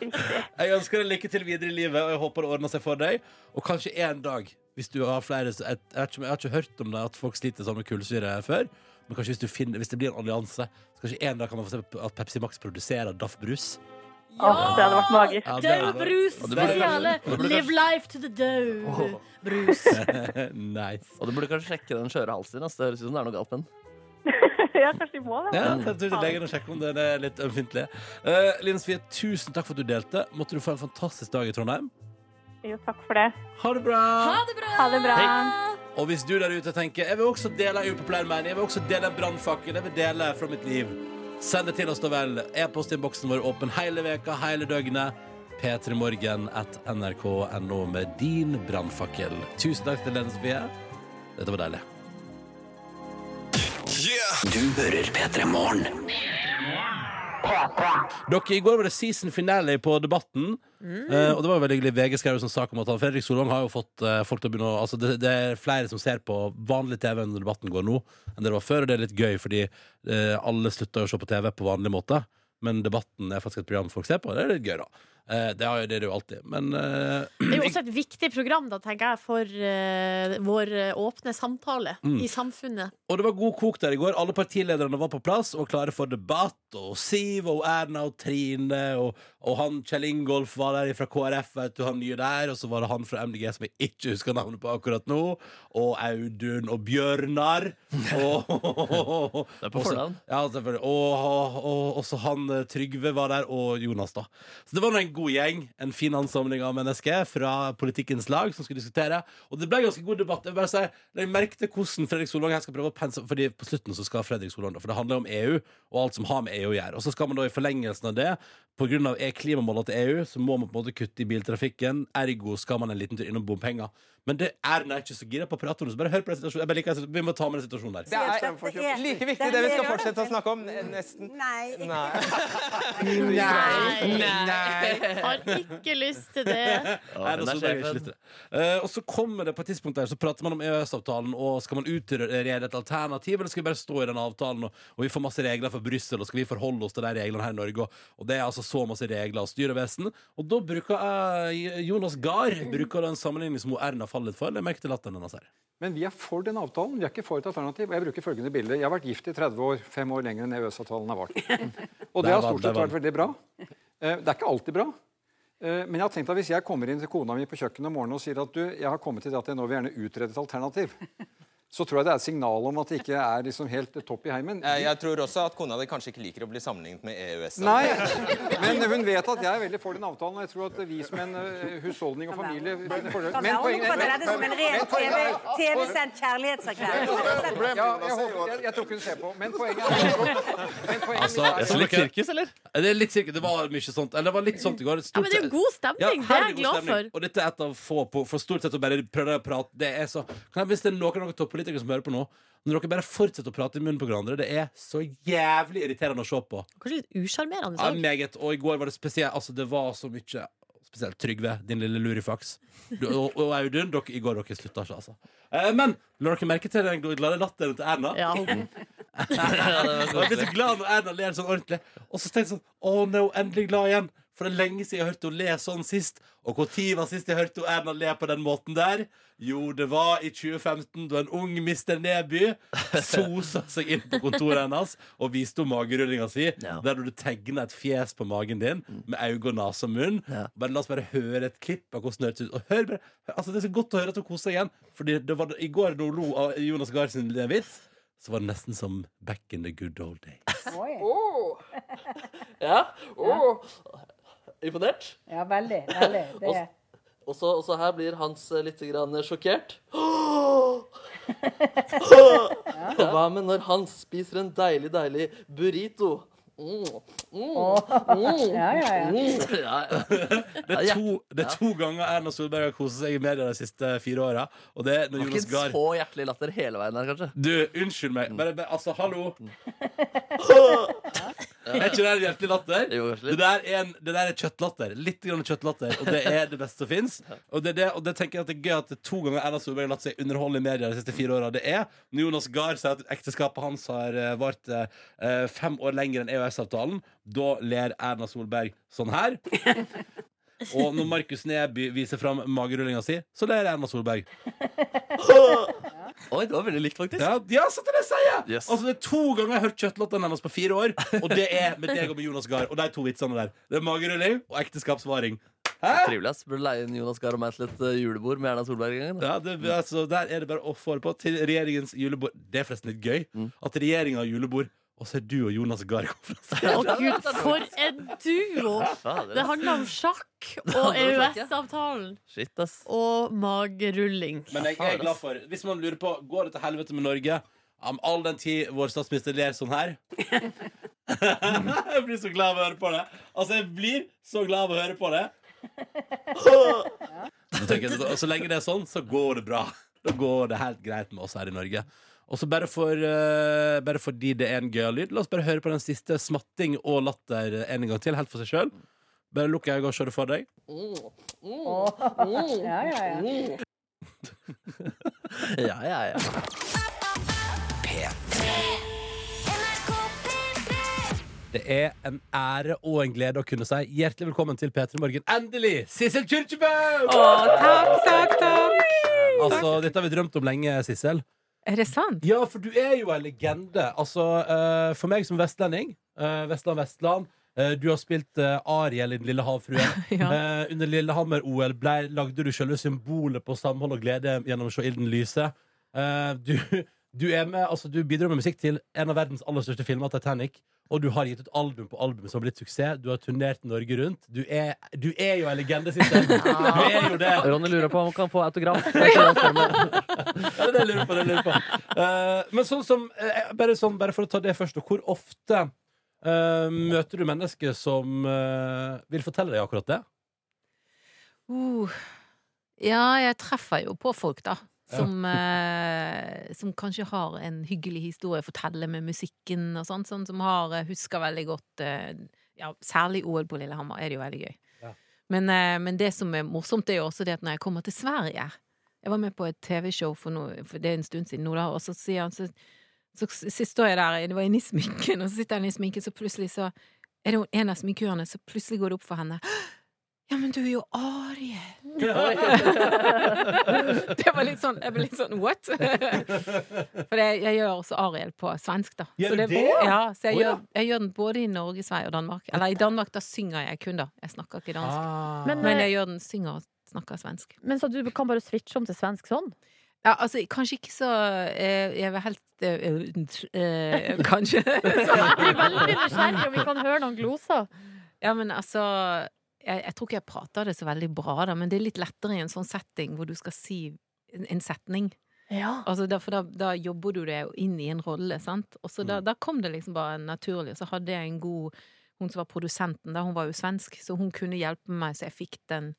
B: Jeg ønsker deg lykke til videre i livet, og jeg håper det ordner seg for deg. Og kanskje en dag, hvis du har flere så- Jeg, jeg, har, ikke, jeg har ikke hørt om det at folk sliter sånn med kullsyre før. Men kanskje hvis, du finner, hvis det blir en allianse, så kanskje en dag kan man få se at Pepsi Max produserer DAF-brus.
L: Åh, det hadde vært magisk.
B: Ja, det
C: Dau
B: hadde vært-
C: brus
B: Og det burde
C: spesiale.
B: kanskje- og det burde
C: Live life to the dau brus.
B: nice.
D: Og du burde kanskje sjekke den skjøre halsen din. ass. Det høres ut som det er noe galt med den.
L: ja, kanskje jeg må det.
B: Ja, jeg tror til legen og sjekke om den er litt ømfintlig. Uh, Linn Sofie, tusen takk for at du delte. Måtte du få en fantastisk dag i Trondheim.
L: Jo, takk for det.
B: Ha det bra!
L: Ha
C: det bra!
B: Hei. Og hvis du der ute tenker Jeg vil også dele en upopulær mening, jeg vil også dele en brannfakkel, jeg vil dele fra mitt liv, send det til oss, da vel. E-postinnboksen vår er åpen hele veka, hele døgnet. P3morgen at nrk.no med din brannfakkel. Tusen takk til Lene Sofie. Dette var deilig.
E: Du hører P3 Morgen.
B: Dere, I går var det season finale på Debatten. Eh, og det var jo veldig hyggelig. VG skrev jo sånn sak om at han Fredrik Solvang har jo fått eh, folk til å begynne å altså det, det er flere som ser på vanlig TV når Debatten går nå, enn det var før. Og det er litt gøy, fordi eh, alle slutter jo å se på TV på vanlig måte. Men Debatten er faktisk et program folk ser på. Det er litt gøy, da. Eh, det, har jo- det er det jo alltid. Men eh,
C: Det er jo også et viktig program da, tenker jeg, for eh, vår eh, åpne samtale
B: Mm.
C: i samfunnet.
B: Og det var god kok der i går. Alle partilederne var på plass og klare for debatt. Og Siv og Erna og Trine og, og han Kjell Ingolf var der fra KrF, vet du, han nye der. Og så var det han fra MDG som jeg ikke husker navnet på akkurat nå. Og Audun og Bjørnar. Og,
D: Det er
B: og så-
D: på fornavn.
B: Ja, selvfølgelig. Og, og, og også han eh, Trygve var der, og Jonas, da. Så det var nå en god gjeng. En fin ansamling av mennesker fra politikkens lag som skulle diskutere. Og det ble ganske god debatt. Jeg vil bare si, jeg merkte hvordan Fredrik Solvang her skal prøve å pense Fordi på slutten så skal Fredrik Solvang, da, for det handler om EU og alt som har med EU å gjøre. Og så skal man da i forlengelsen av det, pga. klimamålene til EU, så må man på en måte kutte i biltrafikken. Ergo skal man en liten tur innom bompenger. Men det Erna er ikke så gira på å prate om det, så bare hør på den situasjonen. Jeg bare liker, vi må ta med den situasjonen der.
N: Det er like viktig det vi skal fortsette å snakke om. Nesten.
O: Nei.
N: Nei.
C: Har ikke lyst til det.
B: Nei, da
D: den er
B: så det er
D: sjefen.
B: ikke litt det. Eh, og så kommer det på et tidspunkt der Så prater man om EØS-avtalen Og skal man utrede et alternativ Eller skal vi bare stå i den avtalen Og, og vi får masse regler fra Bryssel Og skal vi forholde oss til de reglene her i Norge Og, og det er altså så masse regler og styrevesen Og da bruker eh, Jonas Gahr Bruker den sammenligning som hun Erna fallet for Jeg merker til latteren hennes her
M: Men vi er for den avtalen. Vi er ikke for et alternativ. Og jeg bruker følgende bilde. Jeg har vært gift i 30 år. Fem år lenger enn EØS-avtalen har vart. Og
B: Der
M: det har
B: var-
M: stort
B: der
M: sett
B: var
M: vært veldig bra. Eh, Det er ikke alltid bra. Eh, Men jeg har tenkt at hvis jeg kommer inn til kona mi på kjøkkenet om morgenen og sier at du, jeg har kommet til det at jeg nå vil gjerne utrede et alternativ, så tror jeg det er et signal om at det ikke er liksom helt topp i heimen.
N: Eh, Jeg tror også at kona di kanskje ikke liker å bli sammenlignet med E EØS.
M: Nei, men hun vet at jeg er veldig for den avtalen. Og jeg tror at vi som en eh, husholdning og familie finner fordeler.
O: Kan være hun oppfatter dette som en ren
M: men poenget
O: TV
M: er-
O: TV-sendt kjærlighetserklæring.
M: Ja, jeg, håper, jeg, jeg tror ikke hun ser på,
O: Altså,
M: men poenget er
B: Altså,
M: Er det litt
B: sirkus, eller? Det er litt sirkus, det var mye sånt Eller det var litt sånn sånt i går
C: Ja, men det er jo god stemning. det er jeg glad for.
B: Og dette er et av få på For stort sett å bare prøve å prate Det er så kan jeg, Hvis det er noen av dere toppolitikere som hører på nå Når dere bare fortsetter å prate i munnen på hverandre Det er så jævlig irriterende å se på
C: Kanskje litt usjarmerende. sånn.
B: Ja,
C: også.
B: meget Og i går var det spesielt Altså, det var så mye Spesielt Trygve, din lille lurifaks du, og, og Audun, dere, i går dere slutta ikke, altså eh, Men, la dere merke til den glade latteren til Erna
C: Ja.
B: Og jeg ble så glad når Erna ler sånn ordentlig. Og så tenkte jeg sånn Å, nå er hun endelig glad igjen. For det er lenge siden jeg hørte hun le sånn sist. Og når var sist jeg hørte hun Erna le på den måten der? Jo, det var i 2015, da en ung Mr. Neby sosa seg inn på kontoret hennes og viste henne magerullinga si, der du tegna et fjes på magen din med øyne, og nese og munn. Bare, la oss bare høre et klipp av hvordan det hørtes ut. Og hør bare, altså, det er så godt å høre at hun koser seg igjen. Fordi det var, I går da hun lo av Jonas Gahr sin vits, så var det nesten som back in the good old days.
P: Oh.
D: Ja. Åh. Imponert?
P: Ja, veldig. veldig. Det.
D: Også, også her blir Hans eh, litt grann sjokkert. Og hva med når Hans spiser en deilig, deilig burrito? Mm. Mm. Mm.
P: Ja, ja, ja.
D: Mm. ja.
B: Det er to, det er to ganger Erna Solberg har koset seg i media de siste fire åra. Og det er når
D: Det var ikke
B: Jonas
D: en
B: Gahr
D: så hjertelig latter hele veien her, kanskje.
B: Du, unnskyld meg. Bare, bare, altså, hallo! Er ikke det en hjertelig latter? Det der er, en, det der er kjøttlatter. Litt grann kjøttlatter. Og det er det beste som fins. Og, det er det, og det tenker jeg at det er gøy at det er to ganger Erna Solberg har latt seg underholde i media de siste fire åra. Det er når Jonas Gahr sier at ekteskapet hans har eh, vart eh, fem år lenger enn EØS-avtalen. Da ler Erna Solberg sånn her. Og når Markus Neby viser fram magerullinga si, så ler Erna Solberg.
D: Oi, det var veldig likt, faktisk.
B: Ja, ja så til det sier jeg! Altså, det er to ganger jeg har hørt kjøttlottene hennes på fire år, og det er med deg og med Jonas Gahr. Og de to vitsene der. Det er magerulling og ekteskapsvaring.
D: Trivelig, ass. Burde leie inn Jonas Gahr og meg til et eh, julebord med Erna Solberg en gang. da.
B: Ja, det, altså, der er det bare å få det på til regjeringens julebord. Det er forresten litt gøy at regjeringa har julebord, og så er du og Jonas Gahr
C: Å gud, for en duo! Det handler om sjakk og EØS-avtalen.
D: Shit, ass.
C: Og magerulling.
B: Men jeg, jeg er glad for Hvis man lurer på Går det til helvete med Norge Om all den tid vår statsminister ler sånn her Jeg blir så glad av å høre på det Altså jeg blir så glad av å høre på det Så tenker jeg, så, så lenge det er sånn Så går det bra Da går det helt greit med oss her i Norge og så bare, for, eh, bare fordi det er en gøy lyd La oss bare høre på den siste smatting og latter En gang til, helt for seg selv Bare lukk øynene og se det for deg
D: Mm. Mm.
P: Mm. Ja, ja, ja.
D: Mm. Ja, ja, ja
B: Det er en ære og en glede å kunne si hjertelig velkommen til P3 Morgen. Endelig! Sissel Kyrkjebø!
Q: takk, takk, takk.
B: Altså, dette har vi drømt om lenge, Sissel.
Q: Er det sant?
B: Ja, for du er jo en legende. Altså, eh, for meg som vestlending, eh, Vestland, Vestland eh, du har spilt eh, Ariel i Den lille havfruen. Eh, under Lillehammer-OL ble- lagde du selve symbolet på samhold og glede gjennom å se ilden lyse. Eh, du, du, er med, altså, du bidrar med musikk til en av verdens aller største filmer, Titanic. Og du har gitt ut album på album som har blitt suksess. Du har turnert Norge rundt. Du er, du er jo en legende, Sissel. Du er jo det.
D: Ronny lurer på om han kan få autograf.
B: Ja, det er det jeg lurer på. Det er det jeg lurer på. Eh, men sånn som, eh, bare, sånn, bare for å ta det først, og hvor ofte eh, møter du mennesker som eh, vil fortelle deg akkurat det?
Q: Uh. Ja, jeg treffer jo på folk, da. Som, eh, som kanskje har en hyggelig historie å fortelle med musikken og sånn. Sånn som har, eh, husker veldig godt eh, ja, Særlig OL på Lillehammer er det jo veldig gøy. Men, eh, men det som er morsomt, er jo også det at når jeg kommer til Sverige Jeg var med på et TV-show for, noe, for det er en stund siden nå, da, og så sier han så, så, så står jeg der, det var inne i sminken, og så sitter han i sminken, så plutselig så er det en av sminkørene, så plutselig går det opp for henne Ja, men du er jo Ariel.
C: Oi.
Q: det var litt sånn Jeg ble litt sånn what? For jeg, jeg gjør også Ariel på svensk, da.
C: Gjør
Q: så
C: du det?
Q: Ja, så jeg,
C: Å, ja.
Q: gjør, jeg gjør den både i Norge, Sverige og Danmark. Eller i Danmark, da synger jeg kun, da. Jeg snakker ikke dansk.
C: Ah.
Q: Men,
C: Men, eh,
Q: jeg gjør den synger og snakker svensk.
C: Men så du kan bare switche om til svensk sånn?
Q: Ja, altså, kanskje ikke så eh, Jeg vil helst eh, eh, Kanskje.
C: Jeg blir veldig nysgjerrig om vi kan høre noen gloser.
Q: Ja, men altså jeg, jeg tror ikke jeg prater det så veldig bra, da, men det er litt lettere i en sånn setting hvor du skal si en, en setning. Altså, da, for da, da jobber du deg jo inn i en rolle, sant? Og så da, da kom det liksom bare naturlig. Og så hadde jeg en god Hun som var produsenten, da, hun var jo svensk, så hun kunne hjelpe meg, så jeg fikk den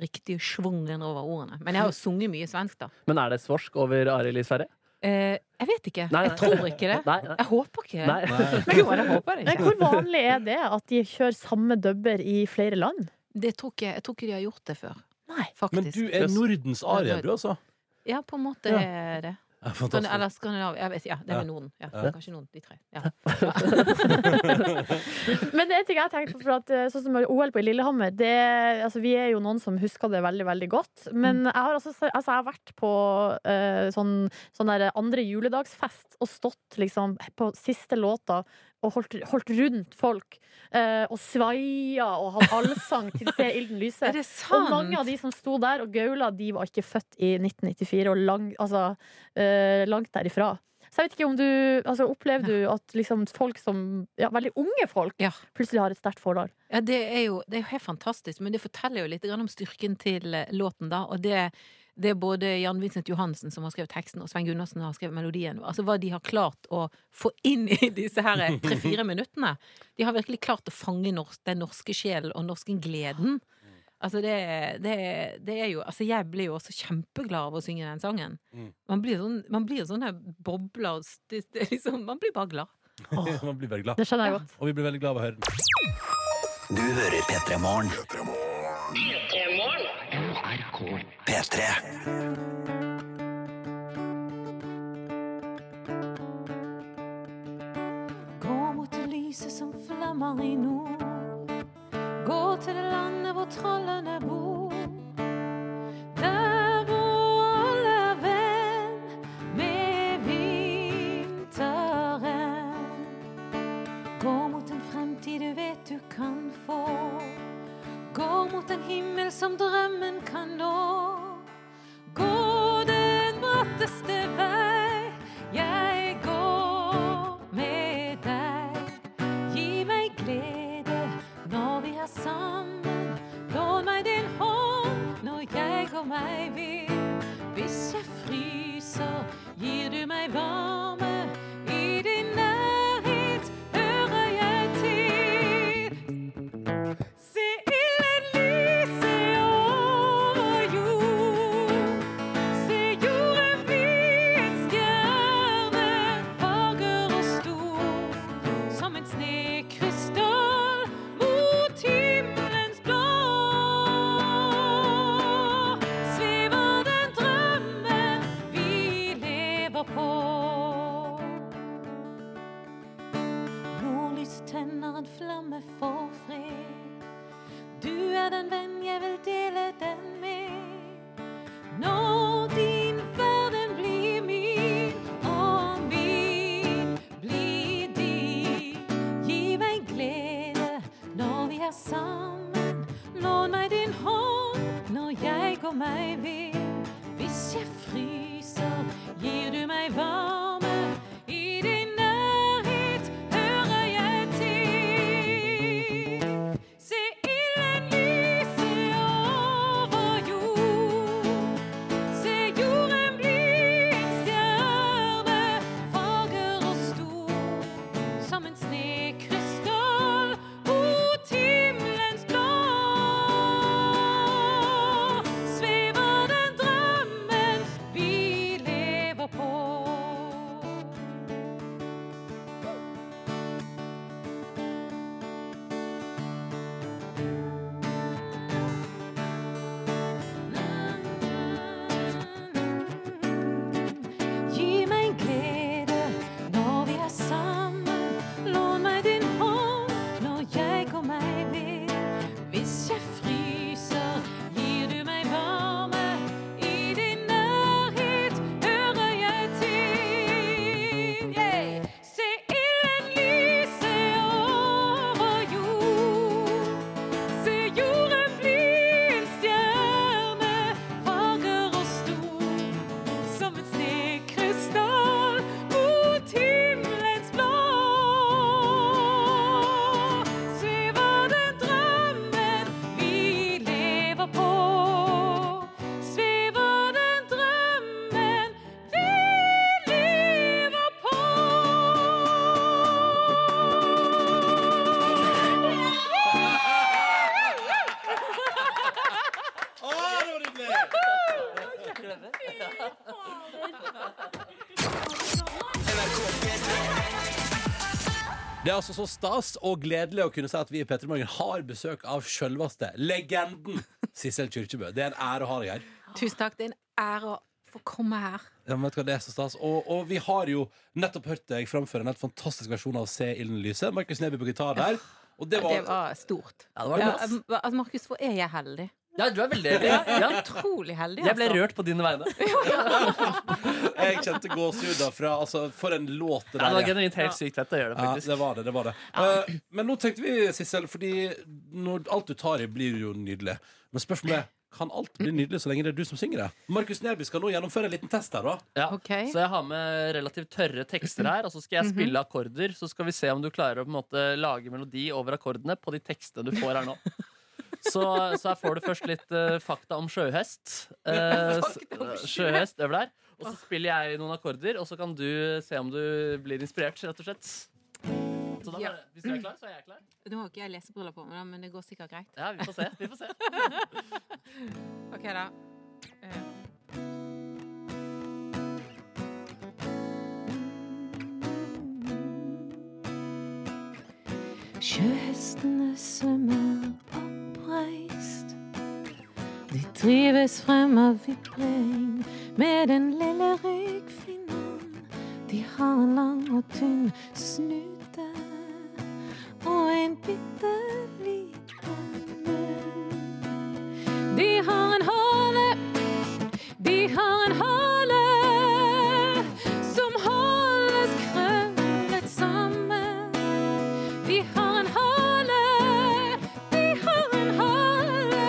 Q: riktige schwungen over ordene. Men jeg har jo sunget mye svensk, da.
D: Men er det svorsk over Arild i Sverige?
Q: Eh, jeg vet ikke.
D: Nei, nei.
Q: Jeg tror ikke det.
D: Nei, nei.
Q: Jeg håper ikke det.
D: Nei. Nei.
Q: Men jo, jeg håper det
C: Men
Q: ikke.
C: hvor vanlig er det at de kjører samme dubber i flere land?
Q: Det tror ikke, jeg tror ikke de har gjort det før. Faktisk.
B: Men du er Nordens Ariel, du, altså.
Q: Ja, på en måte
B: Ja.
Q: er det.
B: Ja, fantastisk.
Q: Skandin- Eller Skandinavia. Jeg vet, ja, det er
B: Ja.
Q: vel Norden. Ja,
B: Ja.
Q: Kanskje Norden. De tre. Ja.
C: Men det er en ting jeg tenkte på, for at eh, sånn som OL på Lillehammer det, altså, Vi er jo noen som husker det veldig, veldig godt. Men
Q: Mm.
C: jeg har, altså, altså, jeg har vært på eh, sånn, sånn der andre juledagsfest og stått liksom på siste låta og holdt, holdt rundt folk. eh, og svaia og hadde allsang til Se ilden lyse.
Q: Er det
C: Og mange av de som sto der og gaula, de var ikke født i 1994 og lang, altså, eh, langt derifra. Så jeg vet ikke om du altså, Opplever du at liksom, folk som ja, Veldig unge folk plutselig har et sterkt forhold?
Q: Ja, det er jo det er jo helt fantastisk, men det forteller jo litt grann om styrken til eh, låten, da. Og det, det er både Jan Vincent Johansen, som har skrevet teksten, og Svein Gunnarsen har skrevet melodien. Altså hva de har klart å få inn i disse her tre-fire minuttene. De har virkelig klart å fange nors- den norske sjelen og norsken gleden. Altså det, det, det er jo Altså jeg blir jo også kjempeglad av å synge den sangen. Man blir sånn, man blir sånne bobler det, det, er liksom, Man blir bare glad.
B: Man blir veldig glad.
Q: Det skjønner jeg godt.
B: Og vi blir veldig glad av å høre den.
M: Du hører P3 Morgen. P3.
R: Gå mot det lyset som flammer i nord. Gå til det landet hvor trollene bor. Der hvor alle er venn med vinteren. Gå mot en fremtid du vet du kan få. Gå mot en himmel som drømmen kan nå. Gå den bratteste vei. Jeg går med deg. Gi meg glede når vi er sammen. Lån meg din hånd når jeg går meg vill. Hvis jeg fryser, gir du meg varme. I din nærhet hører jeg til. Se ilden lyse over jord. Se jorden hvit, stjernen fager og stor som en snekrystall mot himmelens blå. Svever den drømmen vi lever på. Nordlys tenner en flamme for fred. Du er den venn jeg vil dele den med. Når din verden blir min, og min blir din. Gi meg glede når vi er sammen. Lån meg din hånd når jeg går meg vill. Hvis jeg fryser, gir du meg varme. I din nærhet hører jeg til. Se ilden lyse over jord. Se jorden bli en stjerne, fager og stor som en snekrystall mot himmelens blå. Svever den
B: Det er altså så stas og gledelig å kunne si at vi i P3 Morgen har besøk av sjølveste legenden Sissel Kyrkjebø. Det er en ære å ha deg her.
Q: Tusen takk. Det er en ære å få komme her.
B: Ja, men vet du hva, det er så stas og, og vi har jo nettopp hørt deg framføre en helt fantastisk versjon av Se ilden lyse. Markus Neby på gitar der. Og det var,
Q: Det var stort.
B: Ja, det var det,
C: um,
B: ass.
Q: Ja, altså, Markus, hvor er jeg heldig?
D: Ja, du er veldig heldig.
Q: Ja, jeg er
D: Ja.
Q: Utrolig heldig.
D: Jeg ble
Q: altså.
D: rørt på dine vegne.
B: Jeg kjente gåsehud fra altså, For en låt det
D: Ja, det var
B: er.
D: genuint helt sykt fett å gjøre det, faktisk.
B: Ja, det var det, det var det. Eh, men nå tenkte vi, Sissel, fordi når alt du tar i, blir jo nydelig. Men spørsmålet er kan alt bli nydelig så lenge det er du som synger det? Markus Neby skal nå gjennomføre en liten test her, da.
D: Ja. Så jeg har med relativt tørre tekster her, og så skal jeg
B: Mhm.
D: spille akkorder. Så skal vi se om du klarer å på en måte lage melodi over akkordene på de tekstene du får her nå. Så, så her får du først litt eh, fakta om sjøhest. Eh, s-
R: Fakta om
D: eh,
R: sjøhest.
D: sjøhest øver der. Og så spiller jeg noen akkorder, og så kan du se om du blir inspirert, rett og slett. Så da
Q: Ja.
D: bare, hvis du er klar, så er jeg klar.
Q: Nå har ikke jeg lesebriller på meg, da, men det går sikkert greit.
D: Ja, vi får se. Vi får se.
Q: ok, da. Eh.
R: Sjøhestene svømmer oppreist. De drives frem av vibring med den lille ryggfinnen. De har en lang og tynn snute og en bitte liten munn. De har en hale, de har en hale som holdes krøllet sammen. De har en hale, de har en hale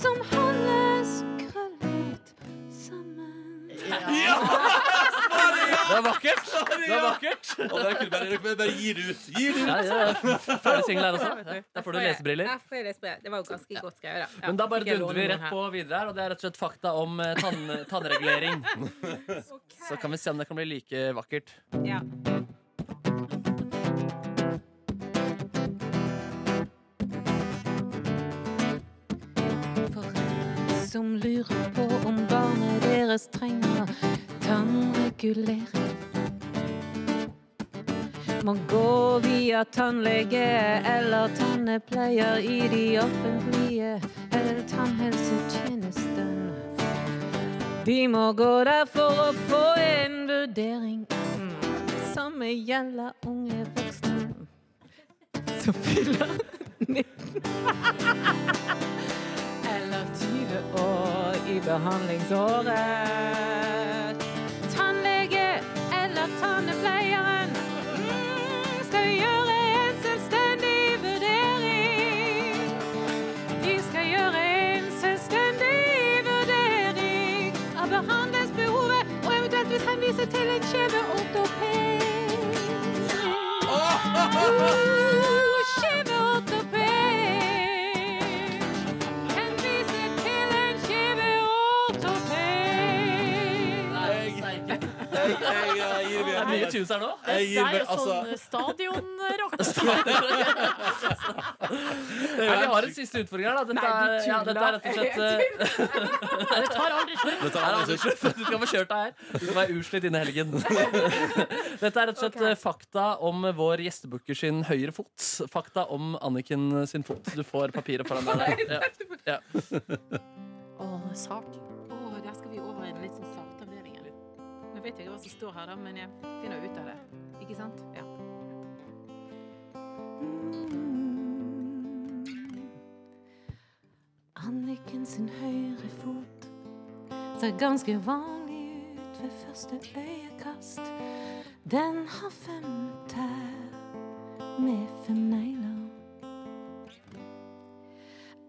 R: som holdes krøllet sammen.
D: Det var vakkert! Det var vakkert.
B: Og det er kult, bare, bare, bare gi det ut. Gi det ut.
D: Ja, ja. Ferdig singel her også. Der får du lesebriller.
Q: Der får jeg lesebriller. Det var jo ganske godt skrevet, da. Ja,
D: Men da bare
Q: fikk jeg
D: dundrer vi
Q: låne noen
D: rett
Q: her.
D: på videre her, og det er rett og slett fakta om eh, tann tannregulering. Så kan vi se om det kan bli like vakkert.
Q: Ja.
R: Som lurer på om barnet deres trenger tannregulering. Må gå via tannlege eller tannepleier i de offentlige eller tannhelsetjenesten. De må gå der for å få en vurdering. Samme gjelder unge voksne som fyller 19 eller 20 år i behandlingsåret. Tannlege eller tannepleieren mm, skal gjøre en selvstendig vurdering. De skal gjøre en selvstendig vurdering av behandlingsbehovet og eventuelt hvis henvise til en kjeveortoped. Uh, kjeveortoped. Henvise til en kjeveortoped.
B: Jeg, jeg, jeg gir meg.
R: Det er mye tunes her
D: nå.
S: Det
B: Jeg gir
S: er
B: meg,
S: jo sånn
B: altså.
S: stadionrock.
D: Ja, vi har en siste utfordring her, da. Dette
S: Nei,
D: er,
S: du
D: ja, dette er rett og slett eh,
S: Det tar aldri slutt.
D: Dette er aldri slutt. Du skal få kjørt deg her. Du skal være utslitt innen helgen. Dette er rett og slett eh, fakta om vår gjestebooker sin høyre fot. Fakta om Anniken sin fot. Du får papiret foran deg. der. Ja. Ja.
C: Åh, sart.
Q: Åh, der skal vi over i den litt sånn sarte avdelingen. Nå vet jeg ikke hva som står her, da, men jeg finner ut av det. Ikke sant? Ja.
R: Anniken sin høyre fot ser ganske vanlig ut ved første øyekast. Den har fem tær med fem negler.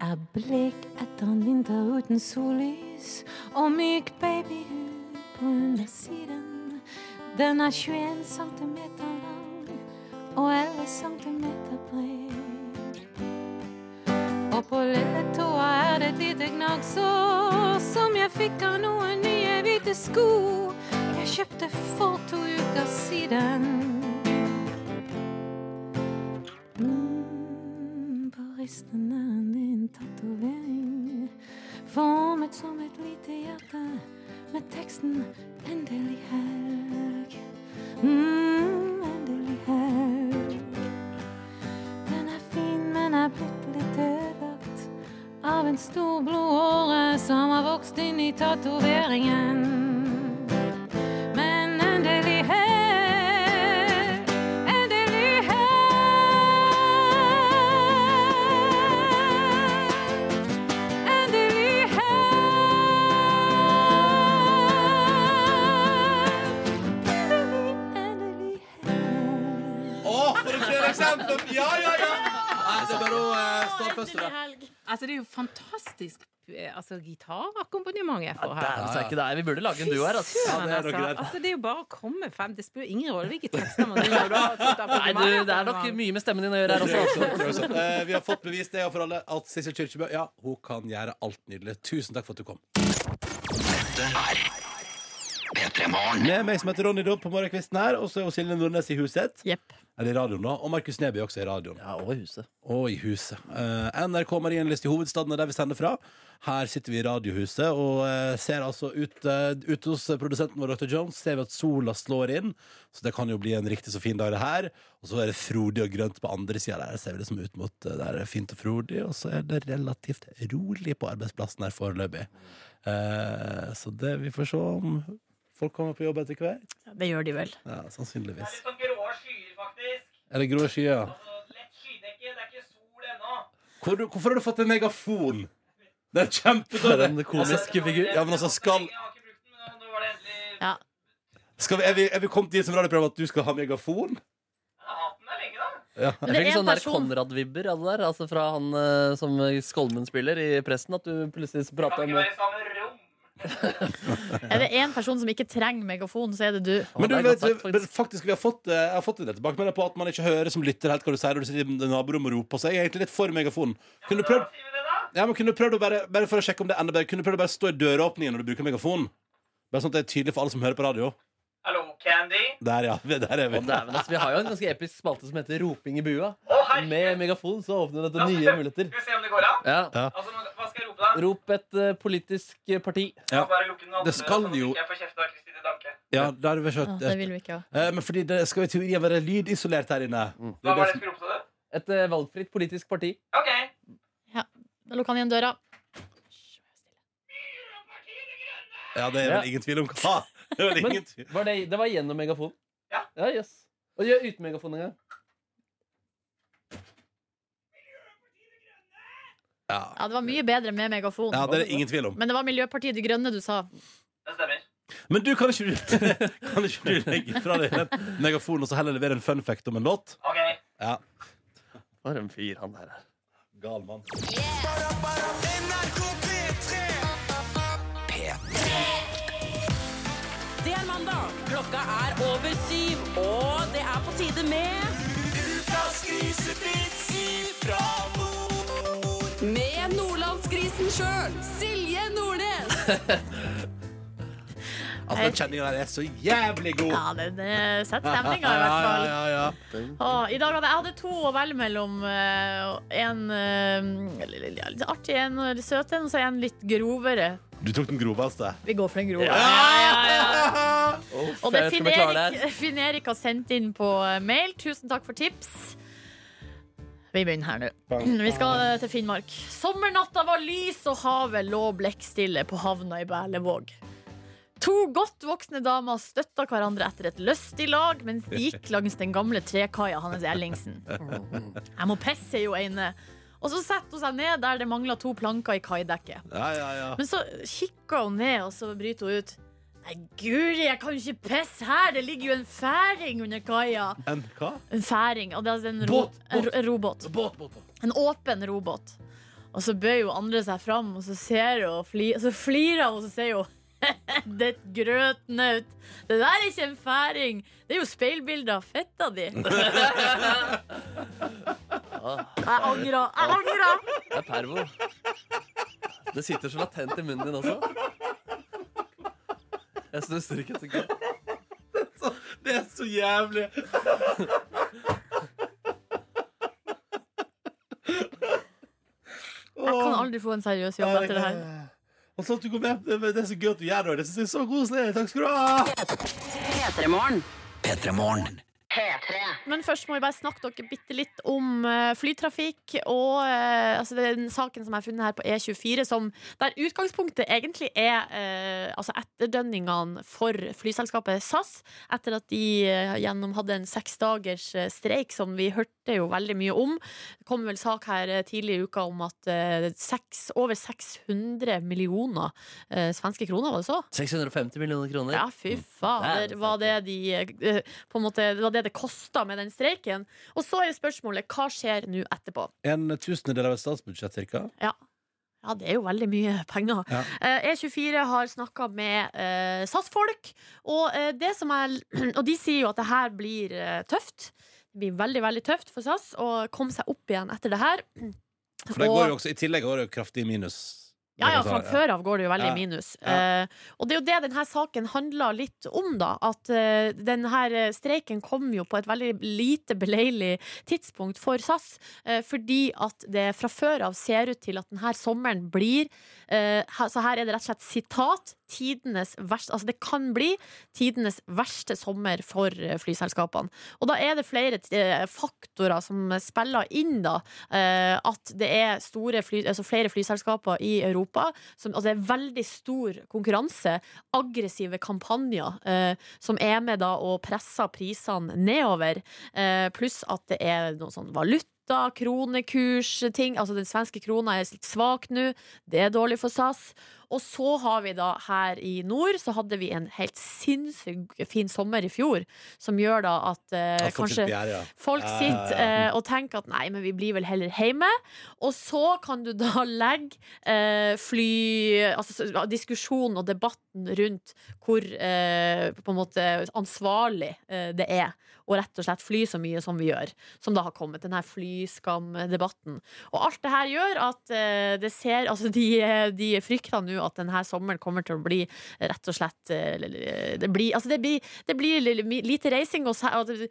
R: Er blek etter en vinter uten sollys og myk babyhud på undersiden. Den er 21 cm lang og 11 cm bred. Og på lille tåa er det et lite gnagsår som jeg fikk av noen nye hvite sko jeg kjøpte for to uker siden. Mm, på risten er en liten tatovering formet som et lite hjerte med teksten 'Endelig helg'. Mm, endelig helg.
T: en stor blodåre som har vokst inn i tatoveringen. Men endelig her, endelig her. Endelig
B: Å, for et flere eksempler! Ja, ja, ja! Nei, det er bare å eh, stadfeste det.
Q: Altså, det er jo fantastisk eh, altså, gitarakkompagnement jeg får her.
D: Dæven steike, det er- Vi burde lage en duo her, ass.
Q: Fy søren, altså. altså, det er jo bare å komme frem. Det spiller jo ingen rolle hvilke tekster man driver
D: Nei, du, det er nok mye med stemmen din å gjøre her
B: Det tror jeg
D: også. altså.
B: også. Eh, Vi har fått bevist det for alle at Sissel Kyrkjebø ja, hun kan gjøre alt nydelig. Tusen takk for at du kom. Med meg som heter Ronny Dobb på morgenkvisten her, og så er hun Silje Nordnes i Huset. Eller i radioen, da. Og Markus Neby også i radioen.
D: Ja, og i Huset.
B: Og i huset. Eh, NRK Marienlyst i hovedstaden er der vi sender fra. Her sitter vi i Radiohuset og eh, ser altså ut, eh, ut hos produsenten vår, Dr. Jones, ser vi at sola slår inn. Så det kan jo bli en riktig så fin dag, det her. Og så er det frodig og grønt på andre sida der. Ser vi liksom ut mot eh, der er det fint og frodig, og så er det relativt rolig på arbeidsplassen her foreløpig. Eh, så det vi får se om folk kommer på jobb etter hvert.
Q: Det gjør de vel.
B: Ja, sannsynligvis.
A: Sånn grå skyer, faktisk. Altså,
B: Er det grå skyer?
A: Lett skydekke, det er ikke sol ennå.
B: Hvor, hvorfor har du fått en megafon? Det er kjempedårlig.
D: For en komisk figur.
B: Ja, men altså, skal,
Q: Ja.
B: skal vi, er, vi, er vi kommet dit som radioprogram at du skal ha megafon? Ja.
D: Jeg fikk sånne der Konrad-vibber alle der, altså fra han eh, som Skolmen spiller i Presten. At du plutselig prater om
C: Er det én person som ikke trenger megafon, så er det du.
B: Men du vet, men faktisk, vi har fått, eh, jeg har fått en del tilbakemeldinger på at man ikke hører som lytter helt hva du sier når du sitter i naborommet og roper. Så jeg er egentlig litt for megafonen. Kunne du prøvd ja, men kunne du prøvd å bare, bare for å sjekke om det er enda bedre Kunne du prøvd å bare stå i døråpningen når du bruker megafon? Bare sånn at det er tydelig for alle som hører på radio.
A: Hallo, Candy.
B: Der, ja. Der er vi.
D: Dæven, ass, altså, vi har jo en ganske episk spalte som heter Roping i bua. Med megafon så åpner dette
A: La oss
D: nye
A: prøve.
D: muligheter.
A: Skal vi se om det går an?
D: Ja.
A: Altså, hva skal jeg rope, da?
D: Rop et eh, politisk eh, parti.
B: Ja.
A: Bare lukke den andre,
B: Det skal
A: sånn at
B: jo-
A: ikke jeg får kjeft av Kristine Danke.
B: Ja, da har vi kjørt,
A: Å, det vil vi ikke ha.
B: Eh, Men fordi det skal i teorien være lydisolert her inne.
A: Mm. Hva var det jeg
B: som-
A: skulle rope til deg?
D: Et eh, valgfritt politisk parti.
A: OK.
C: Ja, Da lukker han igjen døra.
B: Ja, det er vel ingen tvil om hva. Det er vel
D: Men
B: ingen tvil.
D: Var det, det var gjennom megafon?
A: Ja.
D: ja yes. Og gjør uten megafon en gang.
C: Ja, Det var mye bedre med megafon.
B: Ja, det er det ingen tvil om.
C: Men det var Miljøpartiet De Grønne du sa.
B: Men du, kan ikke du, kan ikke du legge fra deg den megafonen og så heller levere en fun fact om en låt? Ja.
D: For en fyr han der er.
B: Gal mann.
R: Det er mandag. Klokka er over syv, og det er på tide med Ukas grisepils ifra nord. Med nordlandsgrisen sjøl, Silje Nordnes.
B: Altså, den kjenninga der er så jævlig god.
C: Ja, den eh, setter stemninga, i hvert fall.
B: Ja, ja, ja.
C: Å, I dag hadde jeg hadde to å velge mellom. eh, og En eh, l- l- ja, litt artig en, og litt søt en, og så en litt grovere.
B: Du tok den groveste.
C: Vi går for den grove. Og det er Finn Erik, Finn Erik har sendt inn på eh, mail. Tusen takk for tips. Vi begynner her nå. Vi skal eh, til Finnmark. Sommernatta var lys, og havet lå blekkstille på havna i Berlevåg. To godt voksne damer støtta hverandre etter et lystig lag mens de gikk langs den gamle trekaia hans Ellingsen. Jeg må pisse, sier jo ene. Og så setter hun seg ned der det mangla to planker i kaidekket.
B: Ja, ja, ja.
C: Men så kikker hun ned, og så bryter hun ut. Nei, guri, jeg kan jo ikke pisse her! Det ligger jo en færing under kaia.
B: En hva?
C: En færing. og det er altså en, ro,
B: Båt,
C: en ro- robåt. En åpen robåt. Og så bøyer jo andre seg fram, og så, ser hun, og fli, og så flirer hun, og så sier hun det er et grøtnaut. Det der er ikke en færing. Det er jo speilbilde av fetta di. Jeg angrer. Jeg angrer.
D: Det er pervo. Det sitter så latent i munnen din også. Jeg stusser ikke et sekund.
B: Det er så jævlig.
C: Jeg kan aldri få en seriøs jobb etter det her.
B: Og så at du går med, det det er så gøy at du gjør det. Det synes jeg er så koselig. Takk skal du ha.
R: P3morgen.
U: P3 Morgen.
C: P3. Men først må vi bare snakke dere bitte litt om eh, flytrafikk og eh, altså den saken som jeg har funnet her på E24, som, der utgangspunktet egentlig er eh, altså etterdønningene for flyselskapet SAS etter at de eh, gjennom hadde en seksdagers eh, streik, som vi hørte jo veldig mye om. Det kom vel sak her eh, tidlig i uka om at eh, seks, over 600 millioner eh, svenske kroner, var det så?
D: 650 millioner kroner.
C: Ja,
B: Mm.
C: fy fader. Var det, de, eh, på en måte, det var det det kosta med den streiken. Og så er jo spørsmålet hva skjer nå etterpå?
B: En tusendedel av et statsbudsjett, cirka.
C: Ja. Ja, det er jo veldig mye penger.
B: Ja.
C: Eh, E24 har snakka med eh, SAS-folk, og, eh, det som er, og de sier jo at det her blir eh, tøft. Det blir veldig, veldig tøft for SAS å komme seg opp igjen etter det her.
B: For det går jo også, I tillegg går det jo kraftig minus.
C: Ja, ja,
B: Det kan
C: fra
B: ta-
C: før av går det jo veldig
B: altså, Ja.
C: i minus. Eh, og det er jo det denne saken handler litt om, da. At eh, denne streiken kom jo på et veldig lite beleilig tidspunkt for SAS. eh, fordi at det fra før av ser ut til at denne sommeren blir eh, her- Så her er det rett og slett sitat. Tidenes verste, altså det kan bli tidenes verste sommer for eh, flyselskapene. Og da er det flere eh, faktorer som spiller inn, da. Eh, At det er store fly, altså flere flyselskaper i Europa. Som, altså det er veldig stor konkurranse. Aggressive kampanjer eh, som er med da og presser prisene nedover. Eh, pluss at det er noe sånn valuta. Kronekurs, ting Altså Den svenske krona er litt svak nå. Det er dårlig for SAS. Og så har vi da her i nord Så hadde vi en helt sinnssykt fin sommer i fjor, som gjør da at eh,
L: At folk
C: kanskje
L: sitter på gjerdet, ja.
C: folk
L: Ja, ja, ja.
C: sitter eh, og tenker at nei, men vi blir vel heller hjemme. Og så kan du da legge eh, fly Altså s- diskusjonen og debatten rundt hvor eh, på en måte ansvarlig eh, det er å rett og slett fly så mye som vi gjør. Som da har kommet, denne flyskamdebatten. Og alt det her gjør at eh, det ser Altså, de, de frykter nå at denne sommeren kommer til å bli rett og slett eh, Det blir, altså det blir, det blir lite reising og, sæ- og det-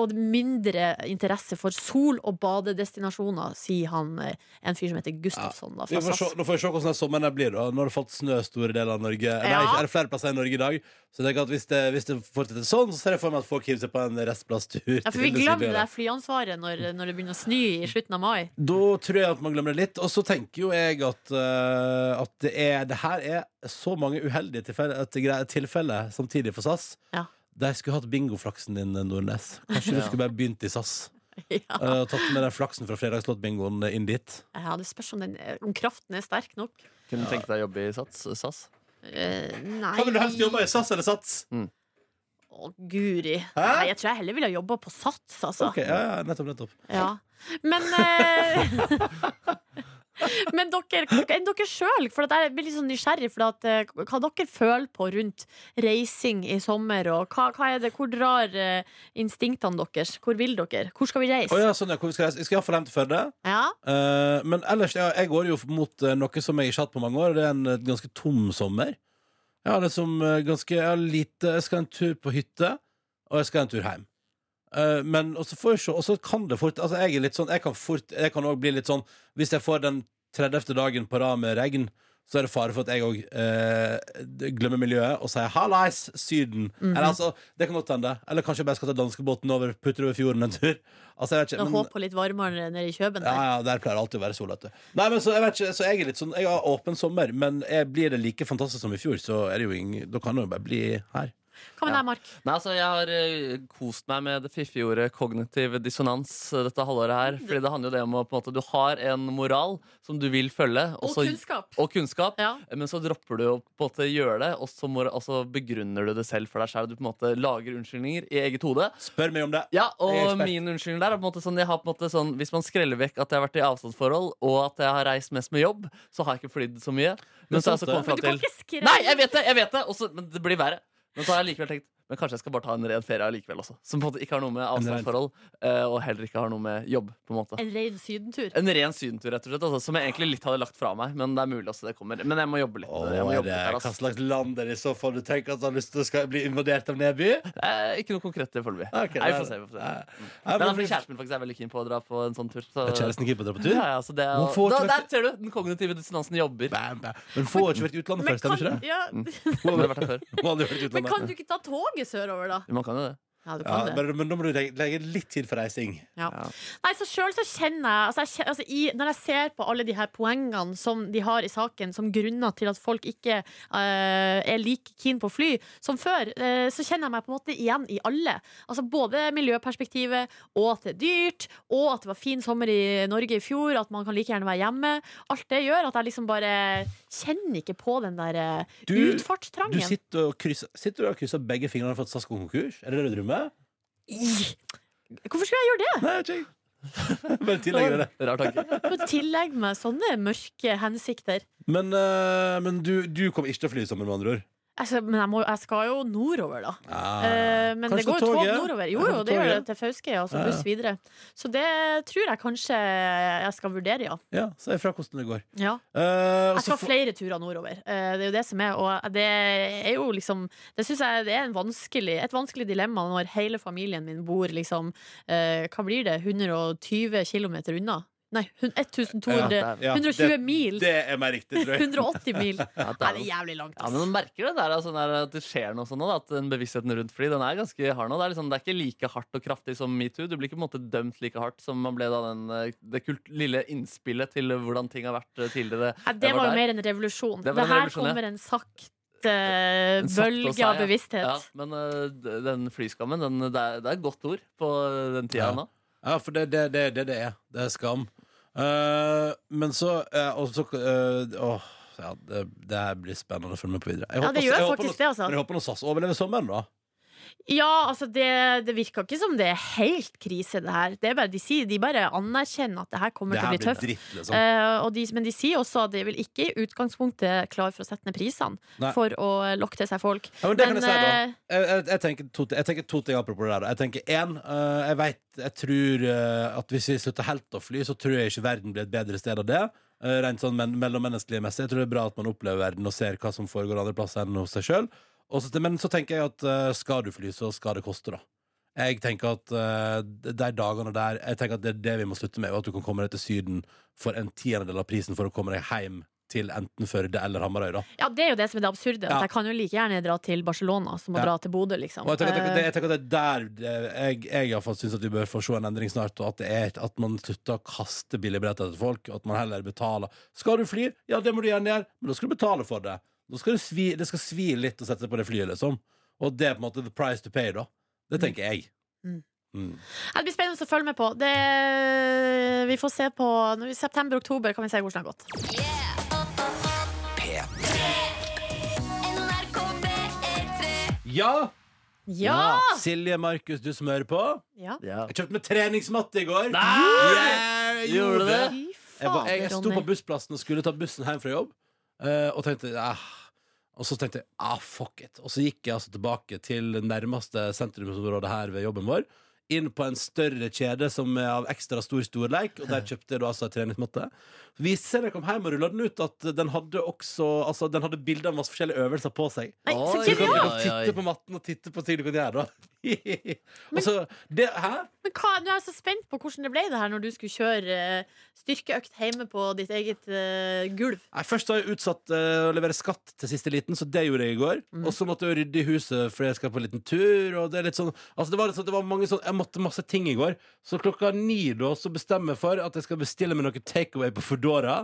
C: og mindre interesse for sol- og badedestinasjoner, sier han eh, en fyr som heter Gustavsson. Da,
B: Vi
C: fra
B: får se,
C: SAS.
B: nå får vi se hvordan den sommeren her blir. da Nå har det falt snø store deler av Norge. Nei,
C: Ja.
B: er det flere plasser i Norge i dag? Så jeg tenker at hvis det, hvis det fortsetter sånn, så ser jeg for meg at folk hiver seg på en restplasstur.
C: Ja, for vi
B: til det
C: glemmer det
B: sydligere.
C: der flyansvaret når, når det begynner å snø i slutten av mai.
B: Da tror jeg at man glemmer det litt. Og så tenker jo jeg at, eh, at det, er, det her er så mange uheldige tilfeller, at det gre- tilfeller samtidig for SAS.
C: Ja.
B: De skulle hatt bingoflaksen din, eh, Nordnes. Kanskje du
C: Ja.
B: skulle bare begynt i SAS.
C: Ja.
B: eh, Og tatt med den flaksen fra fredagslåtbingoen inn dit.
C: Ja, det spørs om, den, eh, om kraften er sterk nok.
D: Kunne du tenke deg å jobbe i Sats, SAS?
C: Eh, nei
B: Hva vil du helst jobbe i, SAS eller Sats?
C: Å, guri. Nei, jeg tror jeg heller ville jobba på Sats, altså.
B: Ok, ja, ja, nettopp, nettopp.
C: Ja. Men eh, Men dere, enn dere sjøl, for at jeg blir litt sånn nysgjerrig for at, eh, hva dere føler på rundt reising i sommer. Og hva, hva er det, hvor drar eh, instinktene deres? Hvor vil dere? Hvor skal vi reise?
B: Å ja, sånn, ja, hvor vi skal reise. Jeg skal iallfall hjem til Førde.
C: Ja.
B: Eh, men ellers, ja, jeg går jo mot eh, noe som jeg ikke har hatt på mange år. og Det er en eh, ganske tom sommer. Jeg har liksom eh, ganske jeg har lite Jeg skal en tur på hytte, og jeg skal en tur hjem. Eh, men og så får jeg se, og så kan det fort Altså, jeg er litt sånn Jeg kan fort Jeg kan òg bli litt sånn Hvis jeg får den 30. dagen på rad med regn, så er det fare for at jeg òg glemmer miljøet og sier 'hallais, Syden'.
C: Mhm.
B: Eller altså, det kan godt hende. Eller kanskje jeg bare skal ta danskebåten over, putter over fjorden en tur. Altså, jeg vet ikke,
C: Og
B: men-
C: håpe på litt varmere nede i Kjøben.
B: ja,
C: Der.
B: ja, der pleier det alltid å være sol. vet du. Nei, men så jeg vet ikke, så jeg er litt sånn, jeg har åpen sommer, men jeg blir det like fantastisk som i fjor, så er det jo ingen, da kan jeg jo bare bli her.
C: Hva med deg, Mark?
D: Nei, altså Jeg har eh, kost meg med det fiffige ordet kognitiv dissonans eh, dette halvåret. her Fordi det handler jo det om å på en måte Du har en moral som du vil følge.
C: Og
D: så-
C: kunnskap.
D: Og kunnskap eh, Men så dropper du å på en måte gjøre det, og så, må, og så begrunner du det selv for deg selv. Du på en måte lager unnskyldninger i eget hode.
B: Spør meg om det.
D: Ja,
B: Jeg er
D: og
B: ekspert.
D: min unnskyldning der er på en måte sånn, jeg har på en måte sånn Hvis man skreller vekk at jeg har vært i avstandsforhold, og at jeg har reist mest med jobb, så har jeg ikke flydd så mye. Men, så har jeg
B: sant
D: så
B: det. Men
D: kommet fram
B: du
D: til
B: kan
C: ikke skrelle.
D: Nei, jeg vet det! jeg vet det og så- Men det blir verre. Men så har jeg likevel tenkt Men kanskje jeg skal bare ta en ren ferie allikevel også. Som på en måte ikke har noe med avstandsforhold, eh, og heller ikke har noe med jobb. på en måte
C: En ren sydentur.
D: en ren sydentur, rett og slett. Altså, som jeg egentlig litt hadde lagt fra meg. Men det er mulig også det kommer. Men jeg må jobbe litt.
B: Åh,
D: jeg må
B: er
D: jobbe
B: det,
D: litt her,
B: hva
D: altså.
B: slags land er det i så fall du tenker at du har lyst til å skal bli invadert av nedby?
D: Eh, ikke noe konkret til foreløpig.
B: Ok,
D: Nei, vi
B: det er-
D: får se. Vi får se.
B: Nei.
D: Mm.
B: Nei,
D: Nei,
B: men-
D: fordi kjæresten min faktisk er veldig keen på å dra på en sånn tur. Så...
B: Er kjæresten keen på å dra på tur?
D: Ja, ja, så det er...
B: Man får sånn-
D: da,
B: ikke vært-
D: der ser du! Den kognitive dissonansen jobber.
B: Men får ikke vært i utlandet før, stemmer ikke det? Mm.
C: Ja.
B: Hun har vært her før. Hun har aldri vært i
C: Men
B: utlandet.
C: kan du ikke ta toget sørover, da?
D: Man kan jo det.
C: Ja, du
B: Ja,
C: kan det.
B: men, men da må du legge- legge litt tid for reising.
C: Ja. Nei, så selv så kjenner jeg, altså jeg kjen- altså i, Når jeg ser på alle de her poengene som de har i saken som grunner til at folk ikke eh, er like keen på å fly som før, eh, så kjenner jeg meg på en måte igjen i alle. Altså Både miljøperspektivet, og at det er dyrt, og at det var fin sommer i Norge i fjor, at man kan like gjerne være hjemme. Alt det gjør at jeg liksom bare kjenner ikke på den der eh,
B: Du- Du
C: utfartstrangen.
B: sitter og krysser, sitter du og krysser begge fingrene for at SAS går konkurs? Er det det du drømmer?
C: Hvorfor skulle jeg gjøre det?
B: Bare tillegg deg det.
D: Rar tanke.
C: Og tillegge meg sånne mørke hensikter.
B: Men, eh, men du, du kommer ikke til å fly i sommer, med andre ord?
C: Altså, men jeg, må, jeg skal jo nordover, da.
B: Ja.
C: Eh, men
B: Kanskje
C: det går
B: på
C: jo tog
B: toget?
C: nordover. Jo,
B: Kanskje
C: jo,
B: på
C: det gjør det
B: toget?
C: til Fauske, og så
B: Ja, ja.
C: buss videre. Så det tror jeg kanskje jeg skal vurdere, ja.
B: Ja, si ifra hvordan det går.
C: ja.
B: Eh, og
C: Jeg
B: så
C: skal
B: får-
C: flere turer nordover. Eh, Det er jo det som er, og det er jo liksom Det syns jeg det er en vanskelig, et vanskelig dilemma når hele familien min bor liksom eh, Hva blir det? 120 km unna? Nei, hun- 1200
D: Ja, det-
C: 120 mil!
B: Det er mer riktig, tror jeg.
C: 180 mil.
D: Ja,
C: Nei,
D: det er-
C: det er jævlig langt.
D: Ja, men man merker det der, altså, der at det skjer noe sånn nå, da, at den bevisstheten rundt fly, den er ganske hard nå. Det er, liksom, det er ikke like hardt og kraftig som metoo. Du blir ikke på en måte dømt like hardt som man ble da den, eh, det kult, lille innspillet til hvordan ting har vært eh, tidligere.
C: Nei, det
D: Jeg
C: var jo
D: der.
C: mer en revolusjon.
D: Det
C: Det,
D: var en
C: her
D: revolusjon, ja.
C: kommer en sakte
D: En sakte og
C: bølge
D: seig,
C: av
D: ja.
C: bevissthet.
D: Ja, men eh, d- den flyskammen, den, det, er, det er et godt ord på eh, den tida
B: Ja.
D: nå.
B: Ja, for det er det, det, det det er. Det er skam. Eh, men så eh, Og så eh, Åh, ja, det, det her blir spennende å følge med på videre. Jeg
C: Ja,
B: håper-
C: det gjør
B: jeg håper
C: faktisk
B: nå-
C: det, altså.
B: Men jeg håper nå SAS overlever sommeren, da.
C: Ja, altså det, det virker ikke som det er helt krise, det her. Det er bare, de, sier, de bare anerkjenner at det her kommer
B: Det
C: til å
B: her
C: bli
B: blir
C: tøft.
B: dritt, liksom.
C: Eh, og de, men de sier også at de vil ikke i utgangspunktet klare for å sette ned prisene
B: Nei.
C: for å lokke til seg folk.
B: Ja, men det kan jeg si,
C: eh,
B: da. Jeg, jeg, jeg, tenker to, ting- jeg tenker to ting apropos det der. da. Jeg tenker én, jeg vet, jeg tror eh, at hvis vi slutter helt å fly, så tror jeg ikke verden blir et bedre sted av det. Eh, rent sånn men, mellommenneskelig messig. Jeg tror det er bra at man opplever verden og ser hva som foregår andre plasser enn hos seg sjøl. Men så tenker jeg at eh, skal du fly, så skal det koste, da. Jeg tenker at eh, de de dagene der Jeg tenker at det er det vi må slutte med, og at du kan komme deg til Syden for en tiendedel av prisen for å komme deg hjem til enten Førde eller Hamarøy, da.
C: ja, det er jo det som er det absurde.
B: Ja.
C: At jeg kan jo like gjerne dra til Barcelona som å
B: Ja.
C: dra til Bodø, liksom.
B: Og jeg tenker, at det,
C: Eh,
B: jeg tenker at det er der eh, jeg, jeg i hvert fall syns at vi bør få se en endring snart, og at, det er, at man slutter å kaste billige billetter til folk, og at man heller betaler. Skal du fly? Ja, det må du gjerne gjøre, men da skal du betale for det. Da skal det, svi, det skal svi litt å sette seg på det flyet, liksom. Og det er på en måte the price to pay, da. Det tenker jeg.
C: Mm.
B: Mm.
C: det blir spennende å følge med på. Det, vi får se på når- september-oktober, kan vi se hvordan det har gått.
B: Ja!
C: Ja!
B: Silje Markus, du som hører på.
C: Ja.
B: Jeg kjøpte meg treningsmatte i går.
R: Nei!
B: Yeah,
R: Gjorde
B: jeg
R: du
B: gjorde
R: det?
B: det?
R: Fy
B: Jeg, var,
R: fader,
B: jeg sto på
R: Ronny.
B: bussplassen og skulle ta bussen hjem fra jobb, eh, og tenkte ah. Og så tenkte jeg ah, fuck it. Og så gikk jeg altså tilbake til det nærmeste sentrumsområdet her ved jobben vår. Inn på en større kjede som er av ekstra stor storleik, og der kjøpte jeg da altså en treningsmatte. Viste seg da jeg kom hjem og rulla den ut, at den hadde også Altså, den hadde bilder av masse forskjellige øvelser på seg.
R: Nei, så
B: du kan, du kan
R: genialt!
B: titte på matten og titte på ting du kan gjøre, da. og så det, Hæ?
C: Men hva, Nå er jeg så spent på hvordan det ble det her når du skulle kjøre eh, styrkeøkt hjemme på ditt eget eh, gulv.
B: Nei, Først har jeg utsatt eh, å levere skatt til siste liten, så det gjorde jeg i går. Og så måtte jeg rydde i huset fordi jeg skal på en liten tur. Og det, er litt sånn, altså det, var litt sånn, det var mange sånn Jeg måtte masse ting i går. Så klokka ni da så bestemmer jeg for at jeg skal bestille meg noe takeaway på Foodora.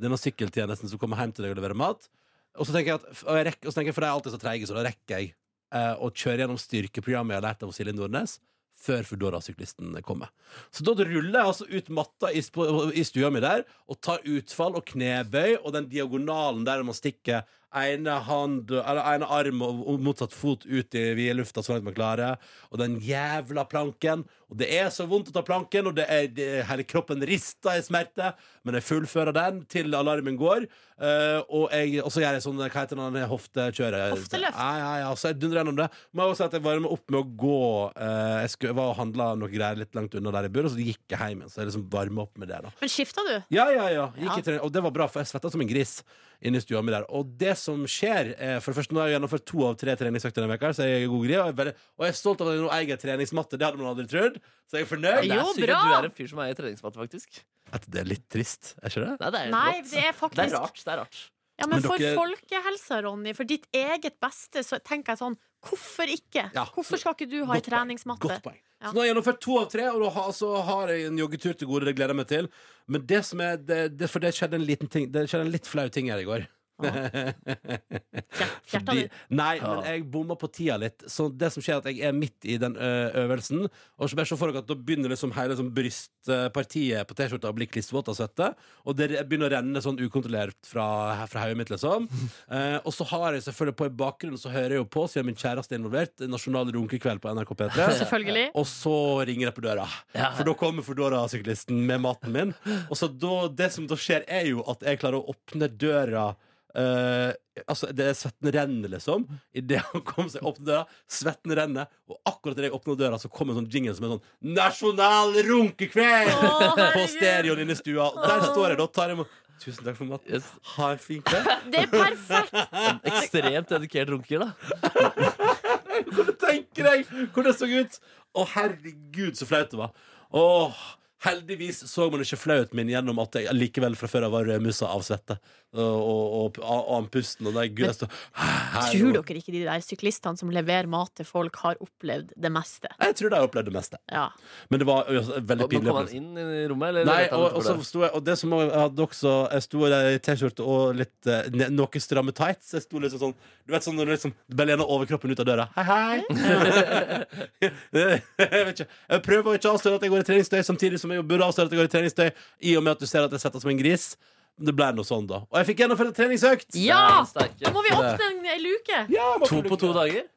B: Denne sykkeltjenesten som kommer hjem til deg og leverer mat. Og så tenker jeg at, og jeg rekker, og så tenker jeg, for de er alltid så treige, så da rekker jeg eh, å kjøre gjennom styrkeprogrammet jeg har lært av Silje Nordnes. Før Foodora-syklisten kommer. Så da ruller jeg altså ut matta i, sp- i stua mi der og tar utfall og knebøy og den diagonalen der man stikker ene, hand, eller ene arm og og motsatt fot ut i vide lufta så langt man klarer, og den jævla planken. Og det er så vondt å ta planken, og det er, det, hele kroppen rister i smerte, men jeg fullfører den til alarmen går. eh, og, jeg, og så gjør jeg sånn Hva heter den hoftekjøret?
R: Hofteløft.
B: Ja, ja, ja, så jeg dundrer gjennom det. Må jeg også si at jeg varmer opp med å gå eh, Jeg skulle, jeg var og handla noe greier litt langt unna der jeg bor, og så gikk jeg hjem igjen. Så jeg liksom varmer opp med det, da.
C: Men skifta du?
B: Ja, ja, ja. Gikk
C: Ja.
B: i trening, og det var bra, for jeg svetta som en gris inne i stua mi der. Og det som skjer er, For det første, nå har jeg gjennomført to av tre treningsøkter denne veka, så jeg er god gris. Og jeg, er veldig, og jeg er stolt av at jeg nå eier treningsmatte. Det hadde man aldri trodd. Så jeg er fornøyd.
D: det er sykt at du er en fyr som er i treningsmatte, faktisk.
B: At det er litt trist, er ikke det?
D: Nei, det er,
C: Nei,
D: rått.
C: det er faktisk
D: Det er rart. Det er rart.
C: Ja, men,
B: Men
C: for
B: dere-
C: folkehelsa, Ronny, for ditt eget beste, så tenker jeg sånn
S: Hvorfor ikke?
B: Ja.
S: Hvorfor skal ikke du ha ei
B: Godt poeng.
S: treningsmatte?
B: Godt poeng.
S: Ja.
B: Så nå har jeg gjennomført to av tre, og da har, så har jeg en joggetur til gode. Det gleder jeg meg til. Men det som er det, det, For det skjedde en liten ting Det skjedde en litt flau ting her i går. Fordi,
R: ditt?
B: nei, men jeg bomma på tida litt. Så det som skjer er at jeg er midt i den ø, øvelsen. Og så bare se for dere at Da begynner liksom hele sånn brystpartiet på T-skjorta å bli klissvåt av svette. Og det begynner å renne sånn ukontrollert fra, fra hodet mitt. liksom Eh, Og så har jeg selvfølgelig på i bakgrunnen Så hører jeg jo på, siden min kjæreste er involvert, Nasjonal runkekveld på NRK P3.
S: Selvfølgelig.
B: Og så ringer jeg på døra. For da kommer Foodora-syklisten med maten min. Og så da, det som da skjer, er jo at jeg klarer å åpne døra eh, altså det er Svetten renner, liksom. Idet han kom seg opp døra, svetten renner. Og akkurat idet jeg åpner døra, så kommer en sånn jingle som er sånn Nasjonal runkekveld! på stereoen inne i stua. Der står jeg da, tar imot. Tusen takk for maten. Ha en fin kveld.
S: Det er perfekt!
D: En ekstremt dedikert runker, da.
B: Hvordan tenker deg hvordan det så ut? Å, herregud, så flaut det var. Åh, Heldigvis så man ikke flauten min gjennom at jeg likevel fra før av var rødmussa av svette. Og, og, og, og andpusten. Og der, gud, jeg står
S: Tror dere ikke de der syklistene som leverer mat til folk, har opplevd det meste?
B: Jeg tror de har opplevd det meste.
S: Ja.
B: Men det var altså, veldig
D: Men
B: pinlig.
D: kom han
B: opplevelse.
D: inn i rommet, eller?
B: Nei,
D: vet han
B: og, og,
D: etterpå
B: så
D: det?
B: sto jeg, og det som var- jeg hadde også Jeg sto der i T-skjorte og litt eh, ne- noe stramme tights. Jeg sto liksom sånn Du vet sånn når du liksom du bare lener overkroppen ut av døra. Hei, hei!
D: Mm.
B: jeg vet ikke. Jeg prøver å ikke avsløre at jeg går i treningstøy, samtidig som jeg jo burde avsløre at jeg går i treningstøy, i og med at du ser at jeg setter som en gris. Det ble noe sånn, da. Og jeg fikk gjennomført en treningsøkt!
S: Ja! Da må vi åpne en en luke!
D: To på to dager?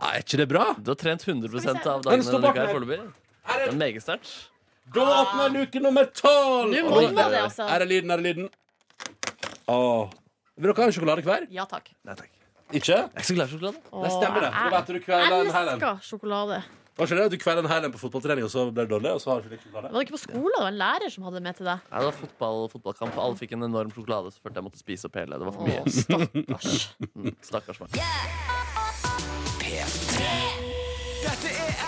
B: Nei, er ikke det bra?
D: Du har trent 100 av
B: Men stå
D: dagene denne
B: bak
D: uka her
B: meg.
D: foreløpig. Det er meget sterkt.
B: Da åpner luke nummer tolv!
D: Nå
B: Og
D: må
B: da-
D: det, altså.
B: Her er lyden, her er lyden. Åh. Vil dere ha en sjokolade hver?
S: Ja takk.
B: Ikke? Jeg er ikke så glad i sjokolade. Nei, stemmer det. For du vet at du kveler en hel en.
S: elsker sjokolade.
B: Var ikke det? Du kveler en hel en på fotballtrening, og så ble du dårlig, og så har du ikke likt sjokolade?
S: Var det ikke på skolen? Det var en lærer som hadde det med til deg.
D: Nei, det var fotball, fotballkamp. Alle fikk en enorm sjokolade, så følte jeg måtte spise opp hele. Det var for mye.
S: Åh,
D: stakkars. Mm, stakkars meg.
V: Dette er